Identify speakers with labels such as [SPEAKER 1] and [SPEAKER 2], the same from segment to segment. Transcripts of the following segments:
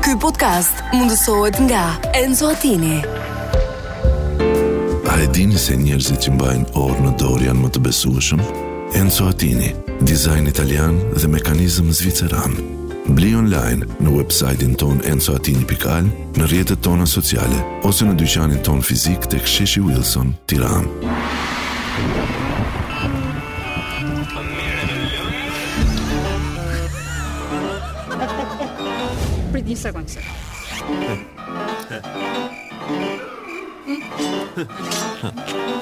[SPEAKER 1] Ky podcast mundësohet nga Enzo Attini.
[SPEAKER 2] A e dini se njerëzit që mbajnë orë në dorë janë më të besueshëm? Enzo Attini, dizajn italian dhe mekanizëm zviceran. Bli online në website-in ton enzoatini.al, në rjetët tona sociale, ose në dyqanin ton fizik të ksheshi Wilson, tiran.
[SPEAKER 3] Prit një sekundë se.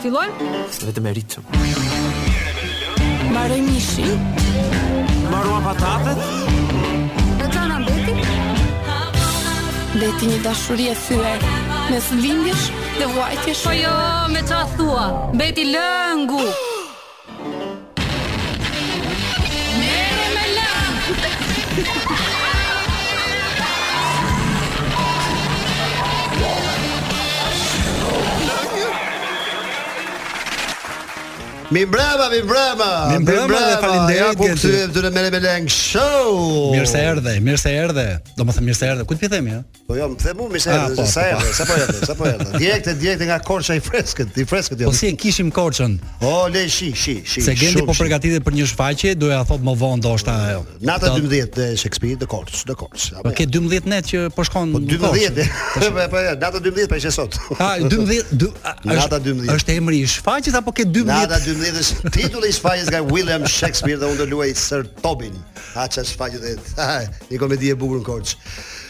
[SPEAKER 3] Fillojmë?
[SPEAKER 4] Vetëm e ritëm.
[SPEAKER 1] Mbaroj mishin.
[SPEAKER 4] Marrua patatet?
[SPEAKER 3] Në të në mbeti?
[SPEAKER 5] Beti një dashuri e thyer mes lindjesh dhe vuajtjesh.
[SPEAKER 3] Po jo, me qa thua? Beti lëngu!
[SPEAKER 6] Mi mbrëma, mi mbrëma.
[SPEAKER 7] Mi mbrëma dhe falinderit,
[SPEAKER 6] Ja ku
[SPEAKER 7] Genti.
[SPEAKER 6] kthyem këtu në Mere Meleng Show.
[SPEAKER 7] Mirë se erdhe, mirë se erdhe. Do më thënë mirë se erdhe. Ku të themi, ja?
[SPEAKER 6] Po jo, më the mu mirë se
[SPEAKER 7] Ah,
[SPEAKER 6] erdhe,
[SPEAKER 7] po,
[SPEAKER 6] sa
[SPEAKER 7] po, po.
[SPEAKER 6] erdhe, sa po erdhe, sa po erdhe. Direkte, direkte nga Korça i freskët, i freskët jo.
[SPEAKER 7] Po si e kishim korçën,
[SPEAKER 6] O le shi, shi, shi.
[SPEAKER 7] se Gendi
[SPEAKER 6] shumë
[SPEAKER 7] po
[SPEAKER 6] shi.
[SPEAKER 7] përgatitet për një shfaqje, doja thot më vonë ndoshta ajo.
[SPEAKER 6] Nata
[SPEAKER 7] Do-
[SPEAKER 6] 12 të Shakespeare, në Korçë, në Korçë.
[SPEAKER 7] Po ke 12 net që po shkon.
[SPEAKER 6] Po
[SPEAKER 7] në
[SPEAKER 6] 12.
[SPEAKER 7] Korçë.
[SPEAKER 6] Po po ja, nata 12 pa ishte sot.
[SPEAKER 7] Ah, 12, du, a,
[SPEAKER 6] Nata
[SPEAKER 7] është-
[SPEAKER 6] 12.
[SPEAKER 7] Është emri i shfaqjes apo ke 12?
[SPEAKER 6] Nata 12 është titulli i shfaqjes nga William Shakespeare dhe unë do luaj Sir Tobin. Ha çfarë shfaqje dhe ha, një komedi e bukur në Korçë.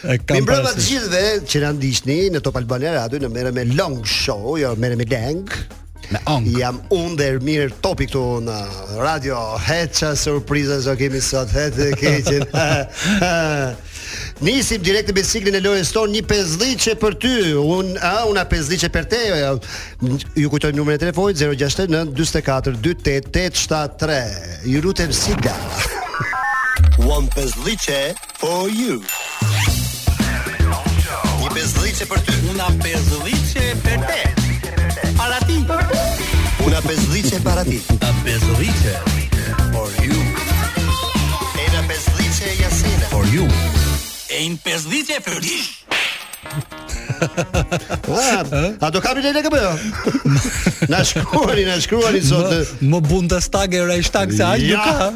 [SPEAKER 7] E kam
[SPEAKER 6] Mi mbrëma të
[SPEAKER 7] parasysh.
[SPEAKER 6] gjithëve që na ndiqni në Top Albania Radio, në merrem me Long Show, jo merrem me Lang.
[SPEAKER 7] Me ong.
[SPEAKER 6] Jam unë dhe Ermir Topi këtu në radio Heqa surpriza që kemi sot Hetë e keqin Nisim direkt në biciklin e lojës tonë Një pesdhiqe për ty Unë a, una pesdhiqe për te ja. Ju kujtoj numrin e telefonit 069 44 28 873 Ju lutem si da
[SPEAKER 8] One pesdhice for you. Një pesdhice për ty. Una pesdhice për te. Para ti. Una pesdhice para ti. Una pesdhice for you. E una pesdhice Jasena. For you. E një pesdhice për ti.
[SPEAKER 6] A, a do kapin e në këpë? Na shkruani, na shkruani sot
[SPEAKER 7] Më, më Bundestag e Reichstag se aq nuk ka.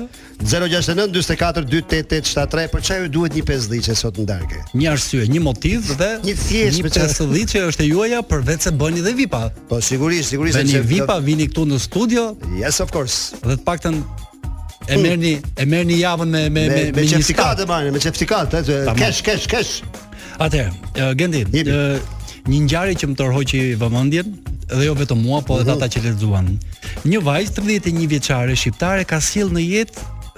[SPEAKER 6] 069 44 28 73 Për po çaj ju duhet një pesdhiqe sot në darkë
[SPEAKER 7] Një arsye, një motiv dhe
[SPEAKER 6] Një thjesht,
[SPEAKER 7] një
[SPEAKER 6] me çfarë-
[SPEAKER 7] pesëdhjet që është e juaja përveç se bëni dhe VIP-a.
[SPEAKER 6] Po sigurisht, sigurisht
[SPEAKER 7] Bëni
[SPEAKER 6] sepse-
[SPEAKER 7] VIP-a, vini këtu në studio,
[SPEAKER 6] Yes of course
[SPEAKER 7] dhe të paktën e merrni e merrni javën me me me,
[SPEAKER 6] Me, me,
[SPEAKER 7] një
[SPEAKER 6] qeftikat
[SPEAKER 7] skat.
[SPEAKER 6] e marrë, me qeftikat e,
[SPEAKER 7] Tamam.
[SPEAKER 6] Kesh, kesh, kesh
[SPEAKER 7] Atëherë, ë, Gendi,
[SPEAKER 6] Jepi.
[SPEAKER 7] ë, një ngjarje që më tërhoqi vëmendjen dhe jo vetëm mua, po edhe
[SPEAKER 6] Mhm.
[SPEAKER 7] ata që lexuan. Një vajzë 31 vjeçare shqiptare ka sjell në jetë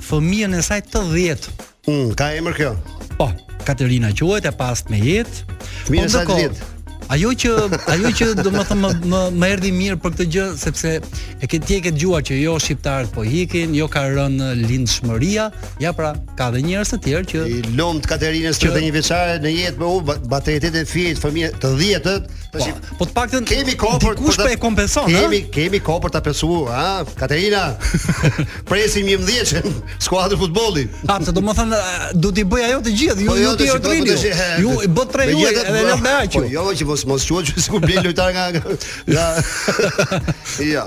[SPEAKER 7] fëmijën e saj të 10.
[SPEAKER 6] mm, Ka emër kjo
[SPEAKER 7] Po, Katerina quhet e pastë me jetë.
[SPEAKER 6] Fëmijën e saj të
[SPEAKER 7] ndërkohë,
[SPEAKER 6] 10.
[SPEAKER 7] Ajo që ajo që domethënë më më, më erdhi mirë për këtë gjë sepse e ke ti e ke dëgjuar që jo shqiptarët po hikin, jo ka rënë lindshmëria, ja pra ka edhe njerëz të tjerë që
[SPEAKER 6] I lomë të Katerinës
[SPEAKER 7] Që-
[SPEAKER 6] të një veçare Në jetë me u ba- batetet e fjetë Fëmije të dhjetët
[SPEAKER 7] Po,
[SPEAKER 6] tash i-
[SPEAKER 7] po të paktën
[SPEAKER 6] Kemi kohë për
[SPEAKER 7] dikush
[SPEAKER 6] për
[SPEAKER 7] po
[SPEAKER 6] ta-
[SPEAKER 7] e kompenson, ëh.
[SPEAKER 6] Kemi kemi kohë për ta pesuar, ha? Katerina. Presim 11-shën skuadrën futbolli.
[SPEAKER 7] A, se do më thënë, a, do t'i bëj ajo të gjithë,
[SPEAKER 6] Po
[SPEAKER 7] ju,
[SPEAKER 6] jo,
[SPEAKER 7] ju t'i ordrini, ju. ju i bët tre juaj, edhe lëm me aqju.
[SPEAKER 6] Po jo që mos mos quhet që sikur blen lojtar nga nga. nga- Ja.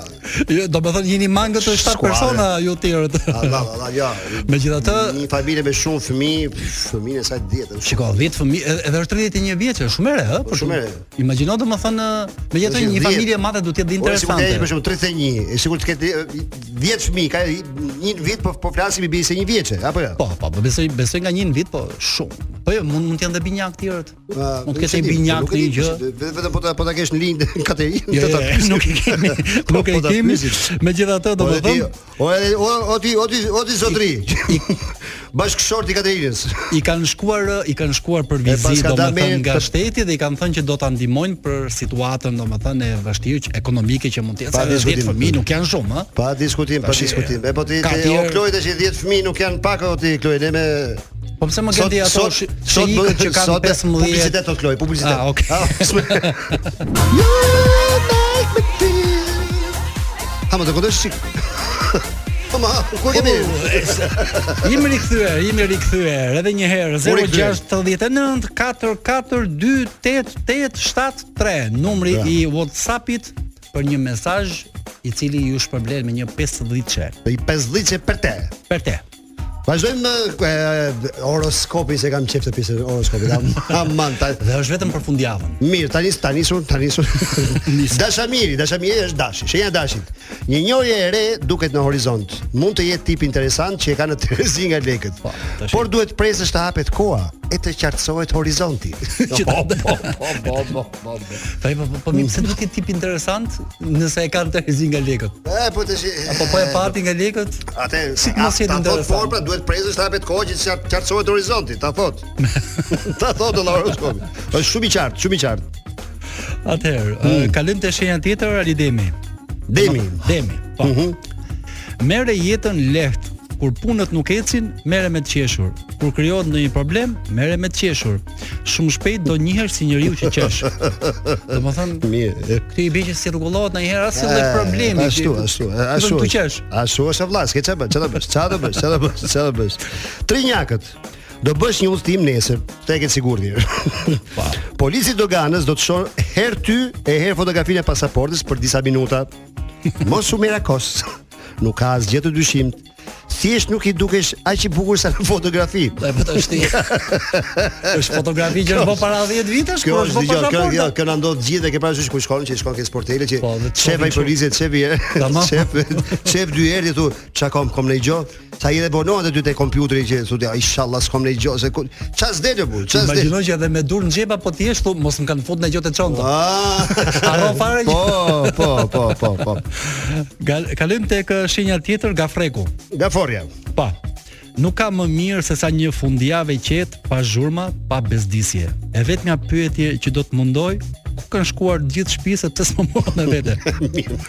[SPEAKER 7] Ju, Do më thënë, jeni mangët të 7
[SPEAKER 6] Skuadre.
[SPEAKER 7] persona, ju tjerët.
[SPEAKER 6] Allah, Allah, ja.
[SPEAKER 7] Megjithatë,
[SPEAKER 6] një familje me shumë fëmijë, fëmijën e saj dihet.
[SPEAKER 7] Shiko, 10 fëmijë, ed- edhe është 31 vjeç, është shumë e re, ë?
[SPEAKER 6] Po, shumë e re. Po,
[SPEAKER 7] Imagjino domethënë, megjithatë
[SPEAKER 6] Është
[SPEAKER 7] një
[SPEAKER 6] 10.
[SPEAKER 7] familje e madhe duhet
[SPEAKER 6] Po,
[SPEAKER 7] të jetë
[SPEAKER 6] Interesante. Ose për shembull 31,
[SPEAKER 7] interesante.
[SPEAKER 6] e sigurt të ketë eh, 10 fëmijë, ka një vit po po flasim i bie se një vjeçë, apo jo?
[SPEAKER 7] Po, po, po, besoj, besoj nga një në vit, po shumë. Po jo, mund mund të janë dhe binjak të tjerët.
[SPEAKER 6] Ah,
[SPEAKER 7] Mund të
[SPEAKER 6] se
[SPEAKER 7] Po, ketë
[SPEAKER 6] di,
[SPEAKER 7] binjak
[SPEAKER 6] nuk e
[SPEAKER 7] të një
[SPEAKER 6] di,
[SPEAKER 7] gjë.
[SPEAKER 6] Vetëm vetëm po ta po ta kesh në lindë Katerin,
[SPEAKER 7] Jo, jo, jo,
[SPEAKER 6] pyes.
[SPEAKER 7] nuk e kemi,
[SPEAKER 6] Po,
[SPEAKER 7] nuk e
[SPEAKER 6] po ta
[SPEAKER 7] kemi.
[SPEAKER 6] pyesin.
[SPEAKER 7] Megjithatë,
[SPEAKER 6] O edhe Po, ti, jo.
[SPEAKER 7] domethënë,
[SPEAKER 6] o edhe o o ti o ti o ti zotri. Bashkëshort i Katerinës.
[SPEAKER 7] i kanë shkuar i kanë shkuar për
[SPEAKER 6] pas
[SPEAKER 7] vizitë
[SPEAKER 6] ka dalë
[SPEAKER 7] domethënë
[SPEAKER 6] me-
[SPEAKER 7] nga shteti dhe i kanë thënë që do ta ndihmojnë për situatën domethënë e vështirë që- ekonomike që mund të jetë.
[SPEAKER 6] Pa
[SPEAKER 7] se edhe
[SPEAKER 6] diskutim.
[SPEAKER 7] 10 fëmijë nuk janë shumë, ë?
[SPEAKER 6] Pa diskutim, pa
[SPEAKER 7] Tash,
[SPEAKER 6] diskutim. E po ti
[SPEAKER 7] ka
[SPEAKER 6] ti- o
[SPEAKER 7] tjerë-
[SPEAKER 6] Kloj tash i 10 fëmijë nuk janë pak o ti Kloj, ne me
[SPEAKER 7] Po pse më gjeti ato shi- shihikët që kanë
[SPEAKER 6] sot
[SPEAKER 7] 15
[SPEAKER 6] publicitet o Kloj, publicitet.
[SPEAKER 7] Ah, okay.
[SPEAKER 6] s'me- You make me feel. Ha, më të këndosh çik. Ma, ku kemi?
[SPEAKER 7] Oh. Jemi rikthyer, jemi rikthyer edhe një herë
[SPEAKER 6] U rikthyer.
[SPEAKER 7] 069 4428873 numri
[SPEAKER 6] Bravo.
[SPEAKER 7] i WhatsApp-it për një mesazh i cili ju shpërblen me një 50 çe.
[SPEAKER 6] I 50 që për te.
[SPEAKER 7] Për te.
[SPEAKER 6] Vazhdojmë e, horoskopi se kam qef të pjesë horoskopit. Am- Aman, ta,
[SPEAKER 7] Dhe është vetëm për fundjavën.
[SPEAKER 6] Mirë, tani tani sun, tani sun. Dashamiri, dashamiri është dashi, shenja e dashit. Një njohje e re duket në horizont. Mund të jetë tip interesant që e ka në terezi nga lekët.
[SPEAKER 7] Po, tash-
[SPEAKER 6] Por duhet presësh të hapet koha e të qartësohet horizonti.
[SPEAKER 7] Që ta-
[SPEAKER 6] po, po, po, po. po.
[SPEAKER 7] Po po po, po mi pse duhet këtë tip interesant nëse e kanë terezi nga lekët.
[SPEAKER 6] E, po të shi...
[SPEAKER 7] Apo po e pati nga lekët?
[SPEAKER 6] Atë,
[SPEAKER 7] Si mos jetë
[SPEAKER 6] ta thot
[SPEAKER 7] interesant.
[SPEAKER 6] por, pra duhet presësh të hapet koha që të qart- qartësohet horizonti, ta thot. ta thot edhe horoskopi. Është shumë i qartë, shumë i qartë.
[SPEAKER 7] Atëherë,
[SPEAKER 6] Hmm.
[SPEAKER 7] mm. kalojmë te shenja tjetër Alidemi.
[SPEAKER 6] Demi. Mhm.
[SPEAKER 7] Demi, po. Merre jetën lehtë. Kur punët nuk ecin, merre me të qeshur. Kur krijohet ndonjë problem, merre me të qeshur. Shumë shpejt do njihesh si njeriu që qesh. Domethënë,
[SPEAKER 6] Mirë,
[SPEAKER 7] ti i bëj që si rregullohet ndonjëherë as edhe problemi.
[SPEAKER 6] Eh, Ashtu,
[SPEAKER 7] që-
[SPEAKER 6] ashtu, eh,
[SPEAKER 7] vetëm
[SPEAKER 6] ashtu.
[SPEAKER 7] Tu qesh.
[SPEAKER 6] Ashtu është vllaz, ke çfarë, çfarë bësh? Çfarë do bësh? Çfarë do bësh? Çfarë do bësh? Trinjakët. Do bësh një udhtim nesër, të e ke sigurt mirë. Polici doganës do të shoh herë ty e herë fotografinë e pasaportës për disa minuta. Mos u merakos. Nuk ka asgjë të dyshimt. Thjesht nuk i dukesh aq i bukur sa në fotografi.
[SPEAKER 7] Dhe po është është fotografi që është bë para 10 vitesh,
[SPEAKER 6] Kjo
[SPEAKER 7] kur
[SPEAKER 6] është
[SPEAKER 7] është bë
[SPEAKER 6] dëgjoj, kjo kjo
[SPEAKER 7] pasaporta.
[SPEAKER 6] kjo na ndodh gjithë dhe ke parasysh ku shkon që shkon ke sportele që
[SPEAKER 7] Po, dhe të
[SPEAKER 6] shef ai
[SPEAKER 7] shohin
[SPEAKER 6] policët, shef i
[SPEAKER 7] Tamam.
[SPEAKER 6] shef shef dy herë tu çka kom kom në gjo. Sa i dhe bonohet aty te kompjuteri që thotë "Ja, inshallah s'kom në gjo se ku ç'a s'del bu, ç'a s'del.
[SPEAKER 7] Imagjino që edhe me dur në xhepa po ti jesh, thu, mos më kanë futur në gjotë çonta.
[SPEAKER 6] Ah.
[SPEAKER 7] Haro fare
[SPEAKER 6] Po,
[SPEAKER 7] që-
[SPEAKER 6] po, po, po, po.
[SPEAKER 7] Gal- Kalojmë tek eh, shenja tjetër, gafreku.
[SPEAKER 6] Gaforja.
[SPEAKER 7] Pa. Nuk ka më mirë se sa një fundjavë e qetë, pa zhurma, pa bezdisje. E vetë nga pyetje që do të mundoj, ku kanë shkuar gjithë shtëpisë sepse s'më morën me vete.
[SPEAKER 6] Mirë.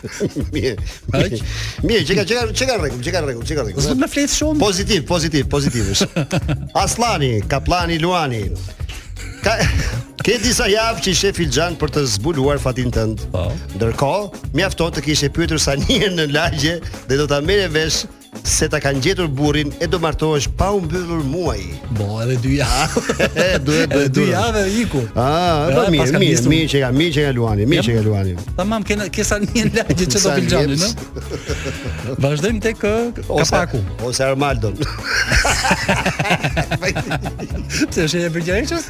[SPEAKER 6] Mirë.
[SPEAKER 7] Aq?
[SPEAKER 6] Mirë, çka çka çka rregull, çka rregull, çka
[SPEAKER 7] S'do
[SPEAKER 6] rregull.
[SPEAKER 7] të flet shumë.
[SPEAKER 6] Pozitiv, pozitiv, pozitiv është. Aslani, Kaplani, Luani. Ka ke disa javë që ishe filxhan për të zbuluar fatin tënd.
[SPEAKER 7] Po.
[SPEAKER 6] Ndërkohë, mjafton të kishe pyetur sa njëherë në lagje dhe do ta merre vesh se ta kanë gjetur burrin e do martohesh pa u mbyllur muaj.
[SPEAKER 7] Bo, edhe dy javë.
[SPEAKER 6] Duhet
[SPEAKER 7] Edhe
[SPEAKER 6] duhet
[SPEAKER 7] dy
[SPEAKER 6] duhet.
[SPEAKER 7] javë e iku.
[SPEAKER 6] Ah, po
[SPEAKER 7] Ja, pas
[SPEAKER 6] mirë,
[SPEAKER 7] kam
[SPEAKER 6] mirë,
[SPEAKER 7] nisur.
[SPEAKER 6] mirë që ka, mirë që ka Luani, mirë
[SPEAKER 7] Jep.
[SPEAKER 6] që ka Luani.
[SPEAKER 7] Tamam, kena kesa një lagje që do
[SPEAKER 6] Sa
[SPEAKER 7] filxhani,
[SPEAKER 6] lips.
[SPEAKER 7] në? Vazhdojmë tek eh, kapaku.
[SPEAKER 6] ose Armaldon.
[SPEAKER 7] Pse është e përgjegjës?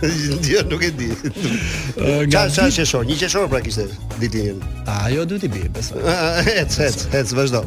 [SPEAKER 6] Jo, nuk e di.
[SPEAKER 7] Eh, Nga
[SPEAKER 6] Qa,
[SPEAKER 7] jo,
[SPEAKER 6] qa qeshor? Një qeshor pra kishte ditën.
[SPEAKER 7] Ta, ajo duhet i bëj, besoj.
[SPEAKER 6] Ah, Ec, ec, ec, vazhdo.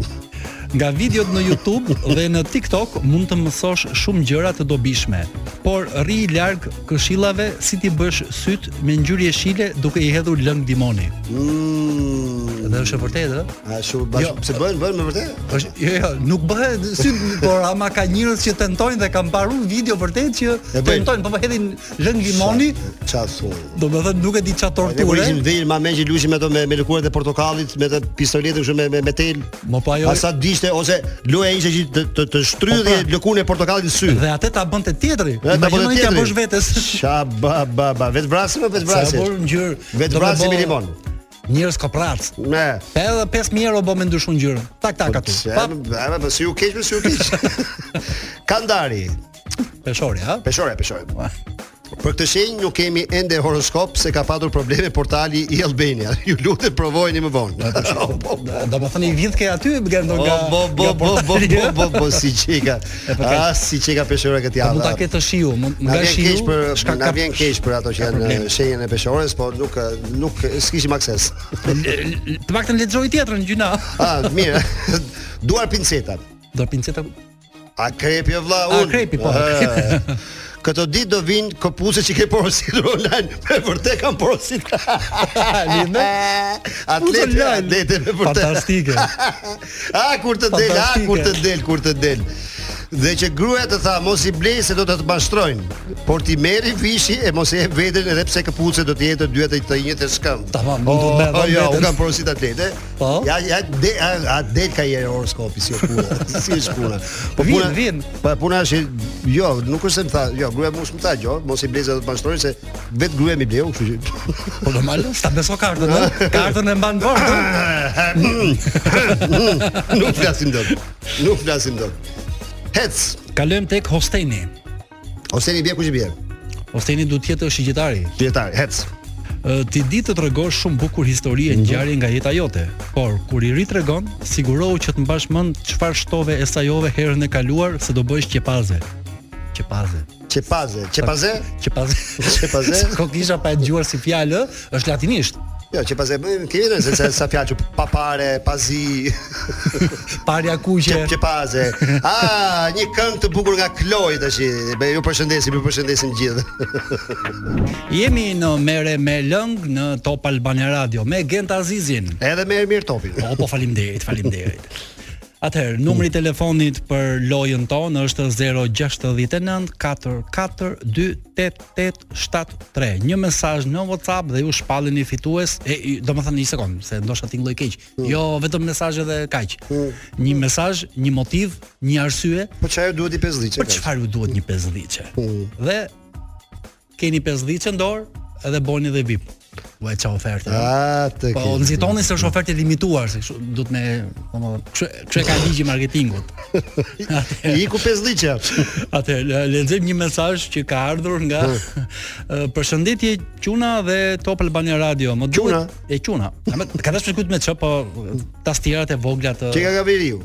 [SPEAKER 7] Nga videot në YouTube dhe në TikTok mund të mësosh shumë gjëra të dobishme, por rri larg këshillave si ti bësh syt me ngjyrje shile duke i hedhur lëng dimoni.
[SPEAKER 6] Mm,
[SPEAKER 7] Dhe është e vërtetë, ë?
[SPEAKER 6] ashtu bash,
[SPEAKER 7] Jo.
[SPEAKER 6] pse bën, bën me vërtet?
[SPEAKER 7] Është jo, jo, nuk bëhet syt, por ama ka njerëz që tentojnë dhe kanë paru video vërtet që
[SPEAKER 6] E bëjnë.
[SPEAKER 7] tentojnë, po po hedhin lëng dimoni,
[SPEAKER 6] Qa thon?
[SPEAKER 7] do me thënë nuk e di çfarë
[SPEAKER 6] Ne po
[SPEAKER 7] torture.
[SPEAKER 6] ishim vënë ma që lushim ato me me lëkurët e portokallit, me të pistoletën kështu me me, me tel.
[SPEAKER 7] Mo po ajo-
[SPEAKER 6] Asa dishte ose loja ishte që të të, të shtrydhje
[SPEAKER 7] Po pra.
[SPEAKER 6] lëkurën e portokallit në sy.
[SPEAKER 7] Dhe atë ta bënte tjetri.
[SPEAKER 6] E, ta bënë
[SPEAKER 7] Imagjinoni t'ja
[SPEAKER 6] tjetri.
[SPEAKER 7] bësh vetes.
[SPEAKER 6] Qa ba ba ba, vetë vrasim apo vetë
[SPEAKER 7] Sa
[SPEAKER 6] vrasim?
[SPEAKER 7] bën ngjyrë.
[SPEAKER 6] Vetë
[SPEAKER 7] do me
[SPEAKER 6] vrasim
[SPEAKER 7] bë-
[SPEAKER 6] me limon.
[SPEAKER 7] Njerëz koprac.
[SPEAKER 6] Ne.
[SPEAKER 7] Edhe 5000 euro bë me ndryshu ngjyrën. Tak tak aty.
[SPEAKER 6] Qa,
[SPEAKER 7] Pap
[SPEAKER 6] Ama po si u keq, po si u keq. Kandari,
[SPEAKER 7] peshori, ha?
[SPEAKER 6] peshore, peshore. Për këtë shenjë nuk kemi ende horoskop se ka patur probleme portali i Albania. Ju lutem provojeni më vonë. O, po, po.
[SPEAKER 7] Do të thënë i vjedh ke aty nga ndo
[SPEAKER 6] O,
[SPEAKER 7] nga
[SPEAKER 6] bo bo
[SPEAKER 7] nga
[SPEAKER 6] bo bo
[SPEAKER 7] portali.
[SPEAKER 6] bo bo bo si çeka. Ah, si çeka peshore këtë javë.
[SPEAKER 7] Mund ta ketë shiu, mund
[SPEAKER 6] Na
[SPEAKER 7] nga
[SPEAKER 6] vjen
[SPEAKER 7] shiu.
[SPEAKER 6] keq për
[SPEAKER 7] shkak
[SPEAKER 6] na
[SPEAKER 7] ka-
[SPEAKER 6] vjen keq për ato që
[SPEAKER 7] ka
[SPEAKER 6] janë
[SPEAKER 7] probleme.
[SPEAKER 6] në shenjën e peshores, po nuk nuk s'kishim akses.
[SPEAKER 7] Të paktën lexoj tjetrën gjyna.
[SPEAKER 6] Ah, mirë. Duar pinceta.
[SPEAKER 7] Do pinceta.
[SPEAKER 6] A krepi o vlla
[SPEAKER 7] A,
[SPEAKER 6] unë.
[SPEAKER 7] krepi, po.
[SPEAKER 6] Ah. Këto ditë do vinë këpucët që ke porositur online, me vërtet kanë porositur.
[SPEAKER 7] Lindë.
[SPEAKER 6] Atlete,
[SPEAKER 7] online.
[SPEAKER 6] atlete me vërtet.
[SPEAKER 7] Fantastike.
[SPEAKER 6] A kur të del, a kur të del, kur të del. Dhe që gruaja të tha mos i blej se do të të bashtrojnë. Por ti merri vishi e mos e jep veten edhe pse këpucët do të jetë të dyja të të njëjtë shkëmb.
[SPEAKER 7] Tamam, unë do
[SPEAKER 6] O,
[SPEAKER 7] të bëj vetëm
[SPEAKER 6] jo,
[SPEAKER 7] vetëm.
[SPEAKER 6] unë kam porosit atlete.
[SPEAKER 7] Po?
[SPEAKER 6] Ja ja de a, a del ka jere horoskopi si është puna. si është puna. Po
[SPEAKER 7] Vin,
[SPEAKER 6] puna
[SPEAKER 7] vin.
[SPEAKER 6] Po puna është jo, nuk është se më tha, jo, gruaja më shumë tha, jo, mos i blej se do të bashtrojnë se vet gruaja më bleu, kështu që.
[SPEAKER 7] Po normal, sta beso kartën, ëh. Kartën e mban dorë.
[SPEAKER 6] Nuk flasim dot. Nuk flasim dot. Hec.
[SPEAKER 7] Kalojmë tek Hosteni.
[SPEAKER 6] Ose një bje kush i bje.
[SPEAKER 7] Hosteni duhet të jetë shigjetari.
[SPEAKER 6] Dietar, hec.
[SPEAKER 7] Ë, Ti di të tregosh shumë bukur histori
[SPEAKER 6] Mhm.
[SPEAKER 7] e ngjarje nga jeta jote, por kur i ri tregon, sigurohu që të mbash mend çfarë shtove e sajove herën e kaluar se do bësh qepaze. Qepaze.
[SPEAKER 6] Qepaze, qepaze?
[SPEAKER 7] Qepaze.
[SPEAKER 6] Qepaze?
[SPEAKER 7] Ko kisha pa e dëgjuar si fjalë, ë, është latinisht.
[SPEAKER 6] Jo, qepaze, më kemi thënë se sa- sa fjalë që papare, pazi,
[SPEAKER 7] Parja
[SPEAKER 6] qep
[SPEAKER 7] kuqe.
[SPEAKER 6] qepaze. Ah, një këngë të bukur nga Kloj tash. Be, ju përshëndesim, ju përshëndesim gjithë.
[SPEAKER 7] Jemi në Mere me Lëng në Top Albania Radio me Gent Azizin.
[SPEAKER 6] Edhe me Ermir Topin.
[SPEAKER 7] Po, po faleminderit, faleminderit. Atëherë, numri i telefonit për lojën tonë është 069 4428873. Një mesazh në WhatsApp dhe ju shpalleni fitues, e i- domethënë një sekond, se ndoshta tingëlloj keq. Jo, vetëm mesazhe dhe kaq. Një mesazh, një motiv, një arsye
[SPEAKER 6] Po çajo duhet i pesdhiçe.
[SPEAKER 7] për çfarë ju duhet një 50-çe. Dhe keni 50-çe në dorë edhe boni dhe VIP. Ua e ça ofertë.
[SPEAKER 6] Ah, të
[SPEAKER 7] Po
[SPEAKER 6] ke.
[SPEAKER 7] nxitoni se është ofertë e limituar, se kështu duhet me, domethënë, kështu kështu e ka ligji i marketingut.
[SPEAKER 6] I ku pesdhiçe.
[SPEAKER 7] Atë lexojmë një mesazh që ka ardhur nga eh, Përshëndetje Quna dhe Top Albania Radio. Më
[SPEAKER 6] Quna?
[SPEAKER 7] duhet e Quna. A më- Ka dashur kujt me çë, po tastirat e vogla të
[SPEAKER 6] Çe ka Gaveriu.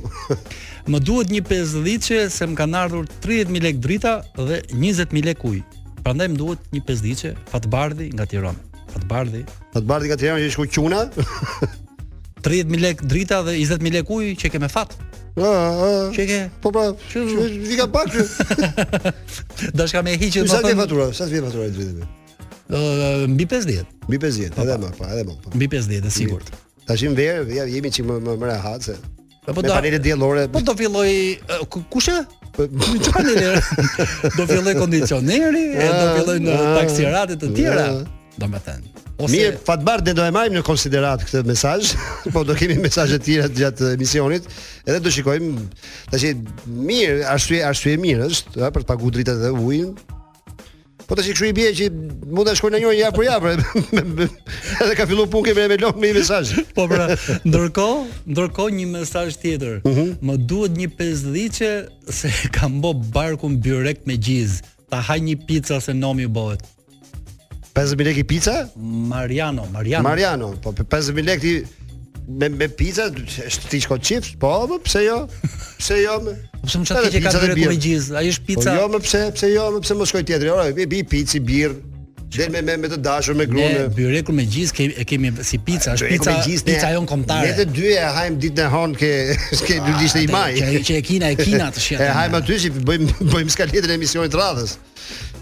[SPEAKER 7] Më duhet një 50-çe se më kanë ardhur 30000 lek drita dhe 20000 lek ujë. Prandaj më duhet një 50-çe Fatbardhi nga Tirana. Fatbardhi
[SPEAKER 6] Fatbardi Po ka Tirana që shku quna.
[SPEAKER 7] 30000 lek drita dhe 20000 lek ujë që ke me fat.
[SPEAKER 6] Ah, ah.
[SPEAKER 7] Që ke
[SPEAKER 6] Po pra,
[SPEAKER 7] Që-
[SPEAKER 6] vi ka pak. që-
[SPEAKER 7] dashka me hiqet
[SPEAKER 6] Sa të
[SPEAKER 7] thënë,
[SPEAKER 6] fatura? Sa të fatura e drejtë?
[SPEAKER 7] ë, mbi 50,
[SPEAKER 6] Mbi 50, edhe më, po, edhe më. po.
[SPEAKER 7] mbi 50 e sigurt.
[SPEAKER 6] Tash në verë, ja jemi çik më më, më rehat se.
[SPEAKER 7] Po
[SPEAKER 6] me
[SPEAKER 7] da-
[SPEAKER 6] panele diellore.
[SPEAKER 7] Po do filloj ë, ku- kushe? Panelere. do filloj kondicioneri, e do filloj në
[SPEAKER 6] Ah,
[SPEAKER 7] taksirate të tjera,
[SPEAKER 6] ah.
[SPEAKER 7] domethënë. Ose
[SPEAKER 6] Mirë, fatbar ne do e marrim në konsiderat këtë mesazh, po do kemi mesazhe të tjera gjatë emisionit, edhe do shikojmë tash mirë, arsye arsye mirë është, ha, për të paguar dritat dhe ujin. Po tash kështu i bie që mund ta shkojnë në një javë për javë. Edhe ka filluar punë me me lok me një mesazh.
[SPEAKER 7] Po pra, ndërkohë, ndërkohë një mesazh tjetër.
[SPEAKER 6] Mhm.
[SPEAKER 7] Më duhet një 50-çe se kam bë barkun byrek me gjiz. Ta haj një pica se nomi u bëhet.
[SPEAKER 6] 50.000 lekë pica?
[SPEAKER 7] Mariano, Mariano.
[SPEAKER 6] Mariano, po për 50.000 lekë ti me me pica është ti shkon chips, po po, pse jo? Pse jo? me?
[SPEAKER 7] Po, Pse më
[SPEAKER 6] Edhe
[SPEAKER 7] çfarë keq e ka
[SPEAKER 6] pica dhe
[SPEAKER 7] byrek
[SPEAKER 6] birë.
[SPEAKER 7] me gjiz? Ai është
[SPEAKER 6] Po
[SPEAKER 7] pica.
[SPEAKER 6] jo, më pse, pse jo, më pse mos shkoj tjetri. Ora, i bi pici, birr, del me me me të dashur me
[SPEAKER 7] Ne
[SPEAKER 6] gruan.
[SPEAKER 7] byrekun me gjiz kemi e kemi si pica, është pica, pica jon kombëtare. Ah,
[SPEAKER 6] Ne të dy e hajm ditën e hon ke ke dy dishte i maj.
[SPEAKER 7] Që, që e kina, e kina të shjet.
[SPEAKER 6] E hajm aty që bëjmë bëjmë skaletën e emisionit të radhës.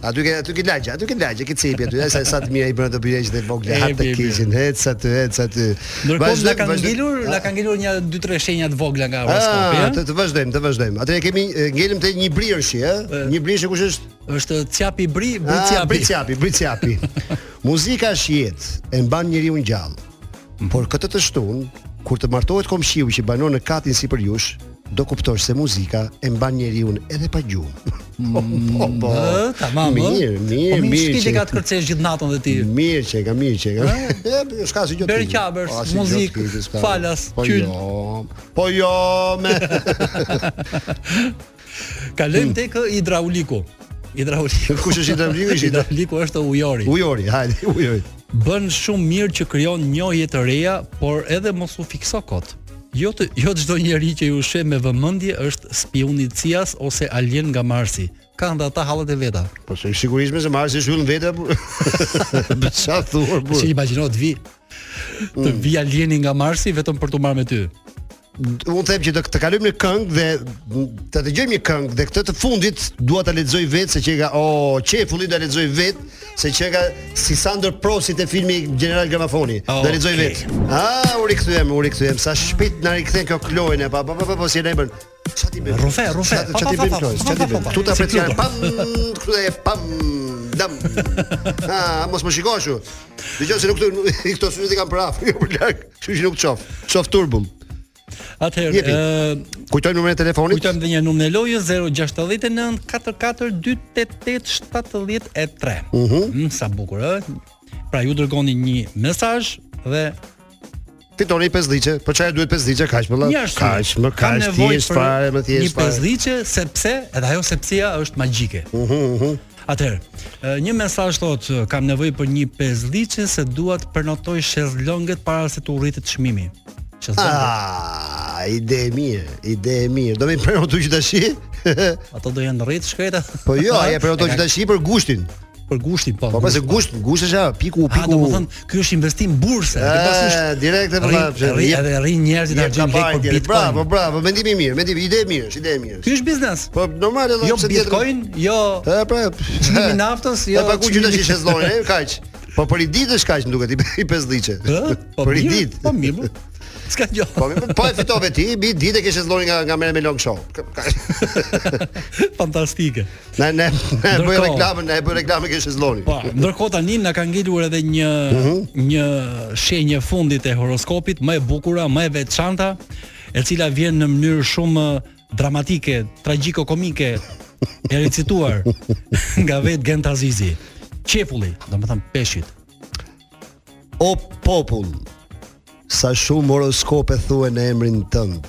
[SPEAKER 6] Aty ke aty ke lagje, aty ke lagje, ke cepi aty, sa sa të mira i bën ato bileqë dhe vogla,
[SPEAKER 7] E,
[SPEAKER 6] ha të
[SPEAKER 7] mirë,
[SPEAKER 6] keqin, ec aty, ec aty.
[SPEAKER 7] Ndërkohë
[SPEAKER 6] Vazhdo-
[SPEAKER 7] na kanë
[SPEAKER 6] vazhdo-
[SPEAKER 7] ngelur, na kanë ngelur një 2-3 shenja të vogla nga horoskopi.
[SPEAKER 6] Ah,
[SPEAKER 7] ëh.
[SPEAKER 6] të të vazhdojmë, të vazhdojmë. Atëherë kemi e, ngelim te një brirshi,
[SPEAKER 7] Eh.
[SPEAKER 6] ë? Një brirshi kush është?
[SPEAKER 7] Është Ciapi Bri, Bri
[SPEAKER 6] Ah,
[SPEAKER 7] Ciapi.
[SPEAKER 6] Briciapi, Briciapi. Muzika është jetë, e mban njeriu gjallë.
[SPEAKER 7] Mhm.
[SPEAKER 6] Por këtë të shtun, kur të martohet komshiu që banon në katin sipër jush, do kuptosh se muzika e mban njeriu edhe pa gjumë. Po,
[SPEAKER 7] Mhm.
[SPEAKER 6] po, po.
[SPEAKER 7] Ë, tamam. ë.
[SPEAKER 6] Mirë,
[SPEAKER 7] Po
[SPEAKER 6] mirë, Mm.
[SPEAKER 7] mi
[SPEAKER 6] mirë.
[SPEAKER 7] shpiti
[SPEAKER 6] që-
[SPEAKER 7] ka të kërcesh gjithë natën dhe ti.
[SPEAKER 6] Mirë që e ka, mirë që e ka. E, jo, s'ka Ah, si gjotë.
[SPEAKER 7] Ah. Beri Qabers, muzikë, falas,
[SPEAKER 6] po
[SPEAKER 7] qyll.
[SPEAKER 6] jo. Po jo, me.
[SPEAKER 7] Kalojmë tek hidrauliku. Hidrauliku.
[SPEAKER 6] Kush është hidrauliku? Është hidra-
[SPEAKER 7] Hidrauliku është ujori.
[SPEAKER 6] Ujori, hajde, ujori.
[SPEAKER 7] Bën shumë mirë që krijon njohje të reja, por edhe mos u fikso kot. Jo të, jo çdo njeri që ju sheh me vëmendje është spiuni i Cias ose alien nga Marsi. Kanë dhe ata hallet e veta.
[SPEAKER 6] Po se sigurisht më se marrë si shyllën vete. por- Çfarë thua, burr?
[SPEAKER 7] Si imagjino të vi të vi alieni nga Marsi vetëm për të marrë me ty.
[SPEAKER 6] unë them që të, të kalojmë në këngë dhe të dëgjojmë një këngë dhe këtë të fundit dua ta lexoj vetë se që ka o oh, çefulli do lexoj vetë se që ka si Sandor Prosit e filmi General Gramafoni.
[SPEAKER 7] Oh,
[SPEAKER 6] do lexoj
[SPEAKER 7] okay.
[SPEAKER 6] vetë. Ah, u rikthyem, u rikthyem sa shpejt na rikthen kjo Kloin e pa pa pa, pa po si e na e bën. Çfarë ti bën?
[SPEAKER 7] Rrufe, rrufe.
[SPEAKER 6] Çfarë
[SPEAKER 7] Pa,
[SPEAKER 6] çfarë ti bën
[SPEAKER 7] pa,
[SPEAKER 6] Kloz? Çfarë ti bën?
[SPEAKER 7] pa, pa, pa, pa, pa.
[SPEAKER 6] Tu ta
[SPEAKER 7] Si
[SPEAKER 6] precjar
[SPEAKER 7] Pluto.
[SPEAKER 6] pam, kthe pam, dam. Ah, mos më shikoj kështu. Dëgjoj se nuk këto këto syze i kanë për afër, jo për larg. Kështu që nuk çof. Çof turbull.
[SPEAKER 7] Atëherë,
[SPEAKER 6] Jepi.
[SPEAKER 7] ë
[SPEAKER 6] Kujtojmë numrin e telefonit.
[SPEAKER 7] kujtojmë edhe një numër në lojë 069 44 288 73.
[SPEAKER 6] Uhu.
[SPEAKER 7] Mm, sa bukur, ë? Pra ju dërgoni një mesazh dhe
[SPEAKER 6] Fitoni 5 diçe. Po çfarë duhet 5 diçe? Kaq më
[SPEAKER 7] një
[SPEAKER 6] lart.
[SPEAKER 7] arsye.
[SPEAKER 6] Kaq më
[SPEAKER 7] Kam
[SPEAKER 6] kaq
[SPEAKER 7] nevojë
[SPEAKER 6] thjesht
[SPEAKER 7] për
[SPEAKER 6] fare, më thjesht
[SPEAKER 7] Një
[SPEAKER 6] fare.
[SPEAKER 7] pesdhiçe sepse edhe ajo sepsia është magjike.
[SPEAKER 6] Uhu, uhu.
[SPEAKER 7] Atëherë, ë, një mesazh thotë kam nevojë për një pesdhiçe se dua të prenotoj shezlonget para se të urritet çmimi. Shezlonget.
[SPEAKER 6] Ah, ide e mirë, ide e mirë. Do më prenotu që tash?
[SPEAKER 7] Ato do janë rrit shkreta.
[SPEAKER 6] Ah. Po jo, ai prenotu që
[SPEAKER 7] ka-
[SPEAKER 6] tash për gushtin.
[SPEAKER 7] për gushtin, po.
[SPEAKER 6] Po pas e gusht, gusht është ajo, piku,
[SPEAKER 7] Ah,
[SPEAKER 6] piku.
[SPEAKER 7] do të thonë, ky është investim burse.
[SPEAKER 6] E, direkt e përra-
[SPEAKER 7] përfaqë. Rri
[SPEAKER 6] jep-
[SPEAKER 7] edhe rrin njerëzit
[SPEAKER 6] Jep
[SPEAKER 7] argjin
[SPEAKER 6] ka
[SPEAKER 7] lek
[SPEAKER 6] parë
[SPEAKER 7] për
[SPEAKER 6] tjerë.
[SPEAKER 7] Bitcoin.
[SPEAKER 6] Bravo, bravo, mendim i mirë, mendim ide e mirë, është, ide e mirë.
[SPEAKER 7] Ky është biznes.
[SPEAKER 6] Po normal edhe
[SPEAKER 7] Jo
[SPEAKER 6] pse tjetër-
[SPEAKER 7] Bitcoin, jo
[SPEAKER 6] E pra,
[SPEAKER 7] çmimi i naftës,
[SPEAKER 6] Jo,
[SPEAKER 7] jo.
[SPEAKER 6] pa ku që tash
[SPEAKER 7] çmimi-
[SPEAKER 6] i shezllonin, e kaq. Po për i ditë është kaq më duket i- i pesdhiçe.
[SPEAKER 7] Ë? Po
[SPEAKER 6] Për i
[SPEAKER 7] mirë,
[SPEAKER 6] ditë.
[SPEAKER 7] Po mirë. po. S'ka gjë.
[SPEAKER 6] Po mi- po e fitove ti, bi ditë e ke shezllonin nga nga merre me long show. Ka- ka-
[SPEAKER 7] Fantastike.
[SPEAKER 6] Na ne ne e bëj
[SPEAKER 7] Ndërkohë-
[SPEAKER 6] reklamën, ne e bëj reklamën ke shezllonin.
[SPEAKER 7] Po, ndërkohë tani na ka ngelur edhe një
[SPEAKER 6] Mhm.
[SPEAKER 7] një shenjë fundit e horoskopit më e bukur, më e veçanta, e cila vjen në mënyrë shumë dramatike, tragjiko-komike, e recituar nga vetë Gent Azizi. Qepulli, domethënë peshit.
[SPEAKER 6] O popull, sa shumë horoskope thuen në emrin tënd.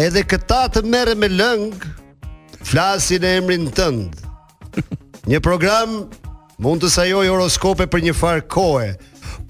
[SPEAKER 6] Edhe këta të merre me lëng, flasin në emrin tënd. Një program mund të sajoj horoskope për një farë kohe,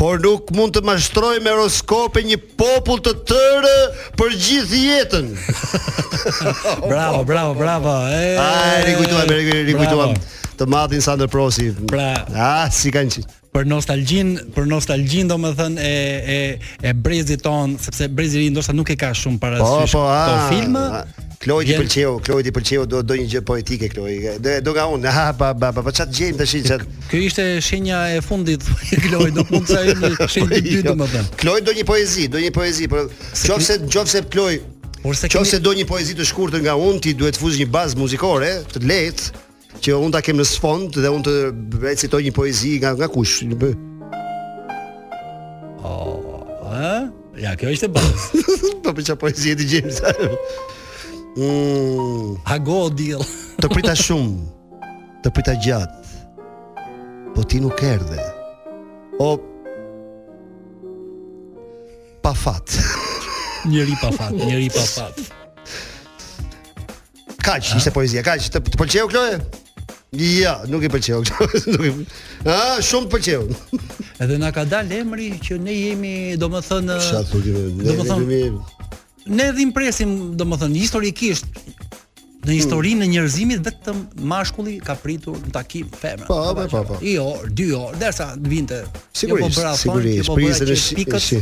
[SPEAKER 6] por nuk mund të mashtroj me horoskope një popull të tërë për gjithë jetën. Oh,
[SPEAKER 7] Bravo, bravo, bravo. E,
[SPEAKER 6] Ai, rikujtuam, riku- rikujtuam.
[SPEAKER 7] bravo.
[SPEAKER 6] Të madhin Sander Prosi.
[SPEAKER 7] Pra-
[SPEAKER 6] ah, si kanë qenë.
[SPEAKER 7] për nostalgjin, për nostalgjin domethënë e e e brezit ton, sepse brezi i ri ndoshta nuk e ka shumë
[SPEAKER 6] Po,
[SPEAKER 7] parasysh
[SPEAKER 6] po, a.
[SPEAKER 7] këto filma.
[SPEAKER 6] Kloj ti
[SPEAKER 7] Vjen-
[SPEAKER 6] pëlqeu, Kloj ti pëlqeu, do do një gjë poetike Kloj. Do do nga unë. Ha, ba, ba, ba, po çat gjejm tash çat.
[SPEAKER 7] Kjo ishte shenja e fundit, Kloj, nuk mund të sajë në shenjë
[SPEAKER 6] Po,
[SPEAKER 7] të
[SPEAKER 6] jo.
[SPEAKER 7] dytë domethënë.
[SPEAKER 6] Kloj do një poezi, do një poezi, por qofse qofse Kloj
[SPEAKER 7] Por se
[SPEAKER 6] Qofse
[SPEAKER 7] kemi-
[SPEAKER 6] do një poezi të shkurtër nga unë, ti duhet të fuzosh një bazë muzikore të lehtë që unë ta kem në sfond dhe unë të recitoj një poezi nga nga kush? po,
[SPEAKER 7] Ë? Ja, kjo ishte bazë.
[SPEAKER 6] Po për çfarë poezi e ti gjejm? sa? Mm.
[SPEAKER 7] Hago diell.
[SPEAKER 6] Të prita shumë, të prita gjatë, po ti nuk erdhe. O pa fat.
[SPEAKER 7] Njëri pa fat, njëri pa fat.
[SPEAKER 6] Kaq, ishte poezia, kaq. Të, të pëlqeu Kloe? Ja, nuk i pëlqeu. Kloe, nuk i. Ah, shumë të pëlqeu.
[SPEAKER 7] Edhe na ka dalë emri që ne jemi domethënë
[SPEAKER 6] Sa thotë ti?
[SPEAKER 7] Do të thonë- ne edhe impresim, domethënë historikisht në historinë e njerëzimit vetëm mashkulli ka pritur në takim femra.
[SPEAKER 6] Po, po, po, po.
[SPEAKER 7] I orë, dy orë, derisa të vinte. Jo po
[SPEAKER 6] Sigurisht,
[SPEAKER 7] bëra fond,
[SPEAKER 6] sigurisht,
[SPEAKER 7] jo po bëra
[SPEAKER 6] priste në
[SPEAKER 7] që
[SPEAKER 6] shi-
[SPEAKER 7] pikët,
[SPEAKER 6] shi.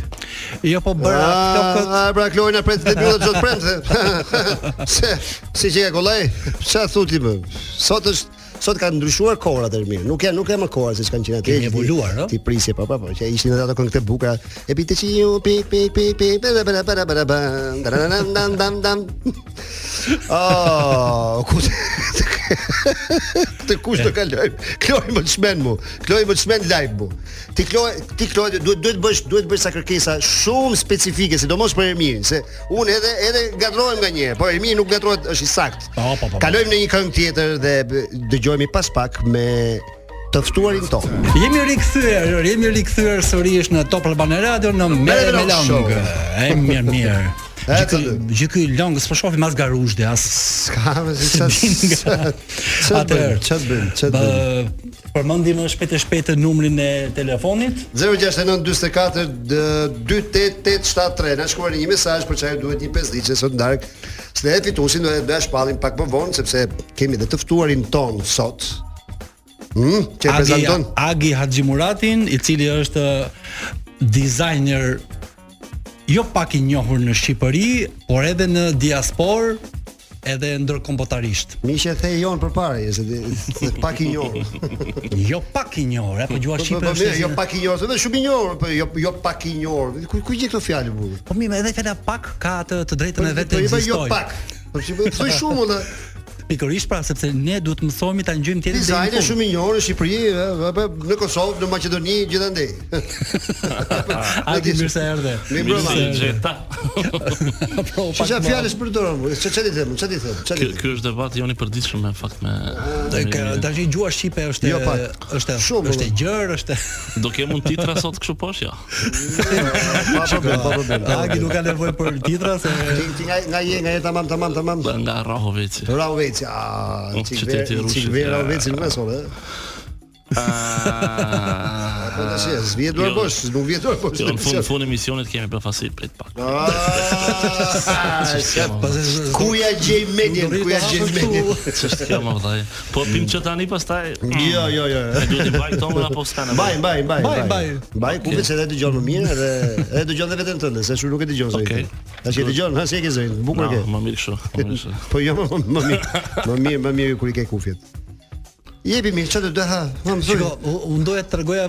[SPEAKER 7] jo po bëra flokët.
[SPEAKER 6] Ah, pra Kloe na pret të bëhet çot premte. Se, si që e kollaj, çfarë thotë ti më? Sot është Sot kanë ndryshuar kohrat e mirë. Nuk janë nuk e më kohra siç kanë qenë atje. që
[SPEAKER 7] Kemi
[SPEAKER 6] ti-
[SPEAKER 7] evoluar, ëh?
[SPEAKER 6] Ti prisje pa pa pa, që ishin edhe ato këngë të bukura. E pite që ju pik pik pik pik bera bera bera bera bam, daranam, dam dam dam. Oh, ku të kush të kalojmë? Kloj më të shmen mu. Kloj më të shmen live mu. Ti Kloj, ti Kloj duhet duhet bësh duhet bësh sa kërkesa shumë specifike, sidomos për Ermirin, se unë edhe edhe gatrohem nga një, herë, po Ermiri nuk gatrohet, është i saktë.
[SPEAKER 7] Po, po, po.
[SPEAKER 6] Kalojmë në një këngë tjetër dhe b- dëgjohemi pas pak me të ftuarin tonë.
[SPEAKER 7] Jemi rikthyer, jemi rikthyer sërish në Top Albana Radio në Merë
[SPEAKER 6] Merre
[SPEAKER 7] me
[SPEAKER 6] me Long Show.
[SPEAKER 7] Long. E mirë, mirë.
[SPEAKER 6] E,
[SPEAKER 7] Gjë ky-
[SPEAKER 6] të-
[SPEAKER 7] Gjë ky long s'po shohim as garushde, as
[SPEAKER 6] Ska, si sa çfarë të bëjmë,
[SPEAKER 7] Atëherë,
[SPEAKER 6] çfarë të bëjmë, çfarë të bëjmë.
[SPEAKER 7] bë- Përmendim më shpejt e shpejt numrin e telefonit.
[SPEAKER 6] 069 44 28873 Na shkruani një mesazh për çfarë duhet një pesdhiçe sot ndark. Se ne fitusin do të shpallim pak më vonë sepse kemi edhe të ftuarin ton sot. Hm, që e
[SPEAKER 7] Agi,
[SPEAKER 6] prezanton
[SPEAKER 7] Agi Haxhimuratin, i cili është ë, designer jo pak i njohur në Shqipëri, por edhe në diasporë edhe ndërkombëtarisht.
[SPEAKER 6] Miqë e the jon përpara, është pak i njohur.
[SPEAKER 7] Jo pak i njohur, apo
[SPEAKER 6] Po,
[SPEAKER 7] gjuha
[SPEAKER 6] po,
[SPEAKER 7] shqipe
[SPEAKER 6] po,
[SPEAKER 7] është.
[SPEAKER 6] mirë, jo pak i njohur, edhe shumë i njohur, po jo jo pak i njohur. Ku ku gje këto fjalë burr?
[SPEAKER 7] Po mirë, edhe fjala pak ka atë të drejtën e vetë
[SPEAKER 6] Po, po,
[SPEAKER 7] të
[SPEAKER 6] i bë,
[SPEAKER 7] ekzistojë.
[SPEAKER 6] Jo pak. Për shembull, thoj shumë unë.
[SPEAKER 7] Pikërisht pra sepse ne duhet të mësohemi ta ngjojmë tjetrin deri
[SPEAKER 6] Dizajni
[SPEAKER 7] në fund.
[SPEAKER 6] shumë i njohur në Shqipëri, ë, ë, ë, në Kosovë, në Maqedoni, gjithandej.
[SPEAKER 7] Ai ti mirë se erdhe.
[SPEAKER 6] Mi
[SPEAKER 9] Mirë
[SPEAKER 6] mbrëma.
[SPEAKER 9] se i gjeta.
[SPEAKER 7] Po, pak
[SPEAKER 6] Çfarë
[SPEAKER 7] më-
[SPEAKER 6] fjalësh përdoron? Çfarë çfarë ti them? Çfarë ti them? Çfarë ti
[SPEAKER 9] Ky
[SPEAKER 6] them?
[SPEAKER 9] ky është debat joni i përditshëm me fakt me.
[SPEAKER 7] Dhe
[SPEAKER 9] me-
[SPEAKER 7] ka- Tash i gjua shqipe është
[SPEAKER 6] Jo, pak.
[SPEAKER 7] është
[SPEAKER 6] Shumë,
[SPEAKER 7] është e
[SPEAKER 6] vëllai.
[SPEAKER 7] gjerë, është
[SPEAKER 9] Do ke mund titra sot kështu Jo. poshtë ja.
[SPEAKER 6] Pa problem, pa problem.
[SPEAKER 7] Agi nuk ka nevojë për titra se
[SPEAKER 6] Ti ti nga nga je nga je tamam tamam tamam.
[SPEAKER 9] Bë, Nga Rahoveci.
[SPEAKER 6] Rauveci, a
[SPEAKER 9] Oh,
[SPEAKER 6] çikver,
[SPEAKER 9] qyteti i Rushit,
[SPEAKER 6] çikver
[SPEAKER 9] ja.
[SPEAKER 6] Rauveci në mesor, ë.
[SPEAKER 9] Ah.
[SPEAKER 6] Po tash, s'vjet dorë
[SPEAKER 9] Jo.
[SPEAKER 6] bosh, nuk vjet dorë bosh.
[SPEAKER 9] Jo, në fund fund emisionit kemi bë fasit prit pak.
[SPEAKER 6] Ah,
[SPEAKER 9] Ç'është
[SPEAKER 7] pas e-
[SPEAKER 6] Ku ja gjej medien, ku ja gjej medien.
[SPEAKER 9] kjo më vëllai? Po pim që tani pastaj.
[SPEAKER 6] Jo, jo, jo.
[SPEAKER 9] E duhet i baj tomën apo s'ka nevojë?
[SPEAKER 6] Mbaj, mbaj, mbaj.
[SPEAKER 7] Mbaj, mbaj.
[SPEAKER 6] Mbaj, ku vetë se ta dëgjon më mirë dhe edhe dëgjon edhe veten tënde, se shumë nuk e dëgjon zërin.
[SPEAKER 9] Okej.
[SPEAKER 6] Tash e dëgjon, ha si e ke zërin, bukur e
[SPEAKER 9] Na,
[SPEAKER 6] ke.
[SPEAKER 9] Më mirë kështu, më mirë kështu.
[SPEAKER 6] Po jo, më më mirë, më mirë, më mirë kur i ke kufjet. Jepi mirë, çfarë do të ha? Më më
[SPEAKER 7] Shiko, u- unë doja të tregoja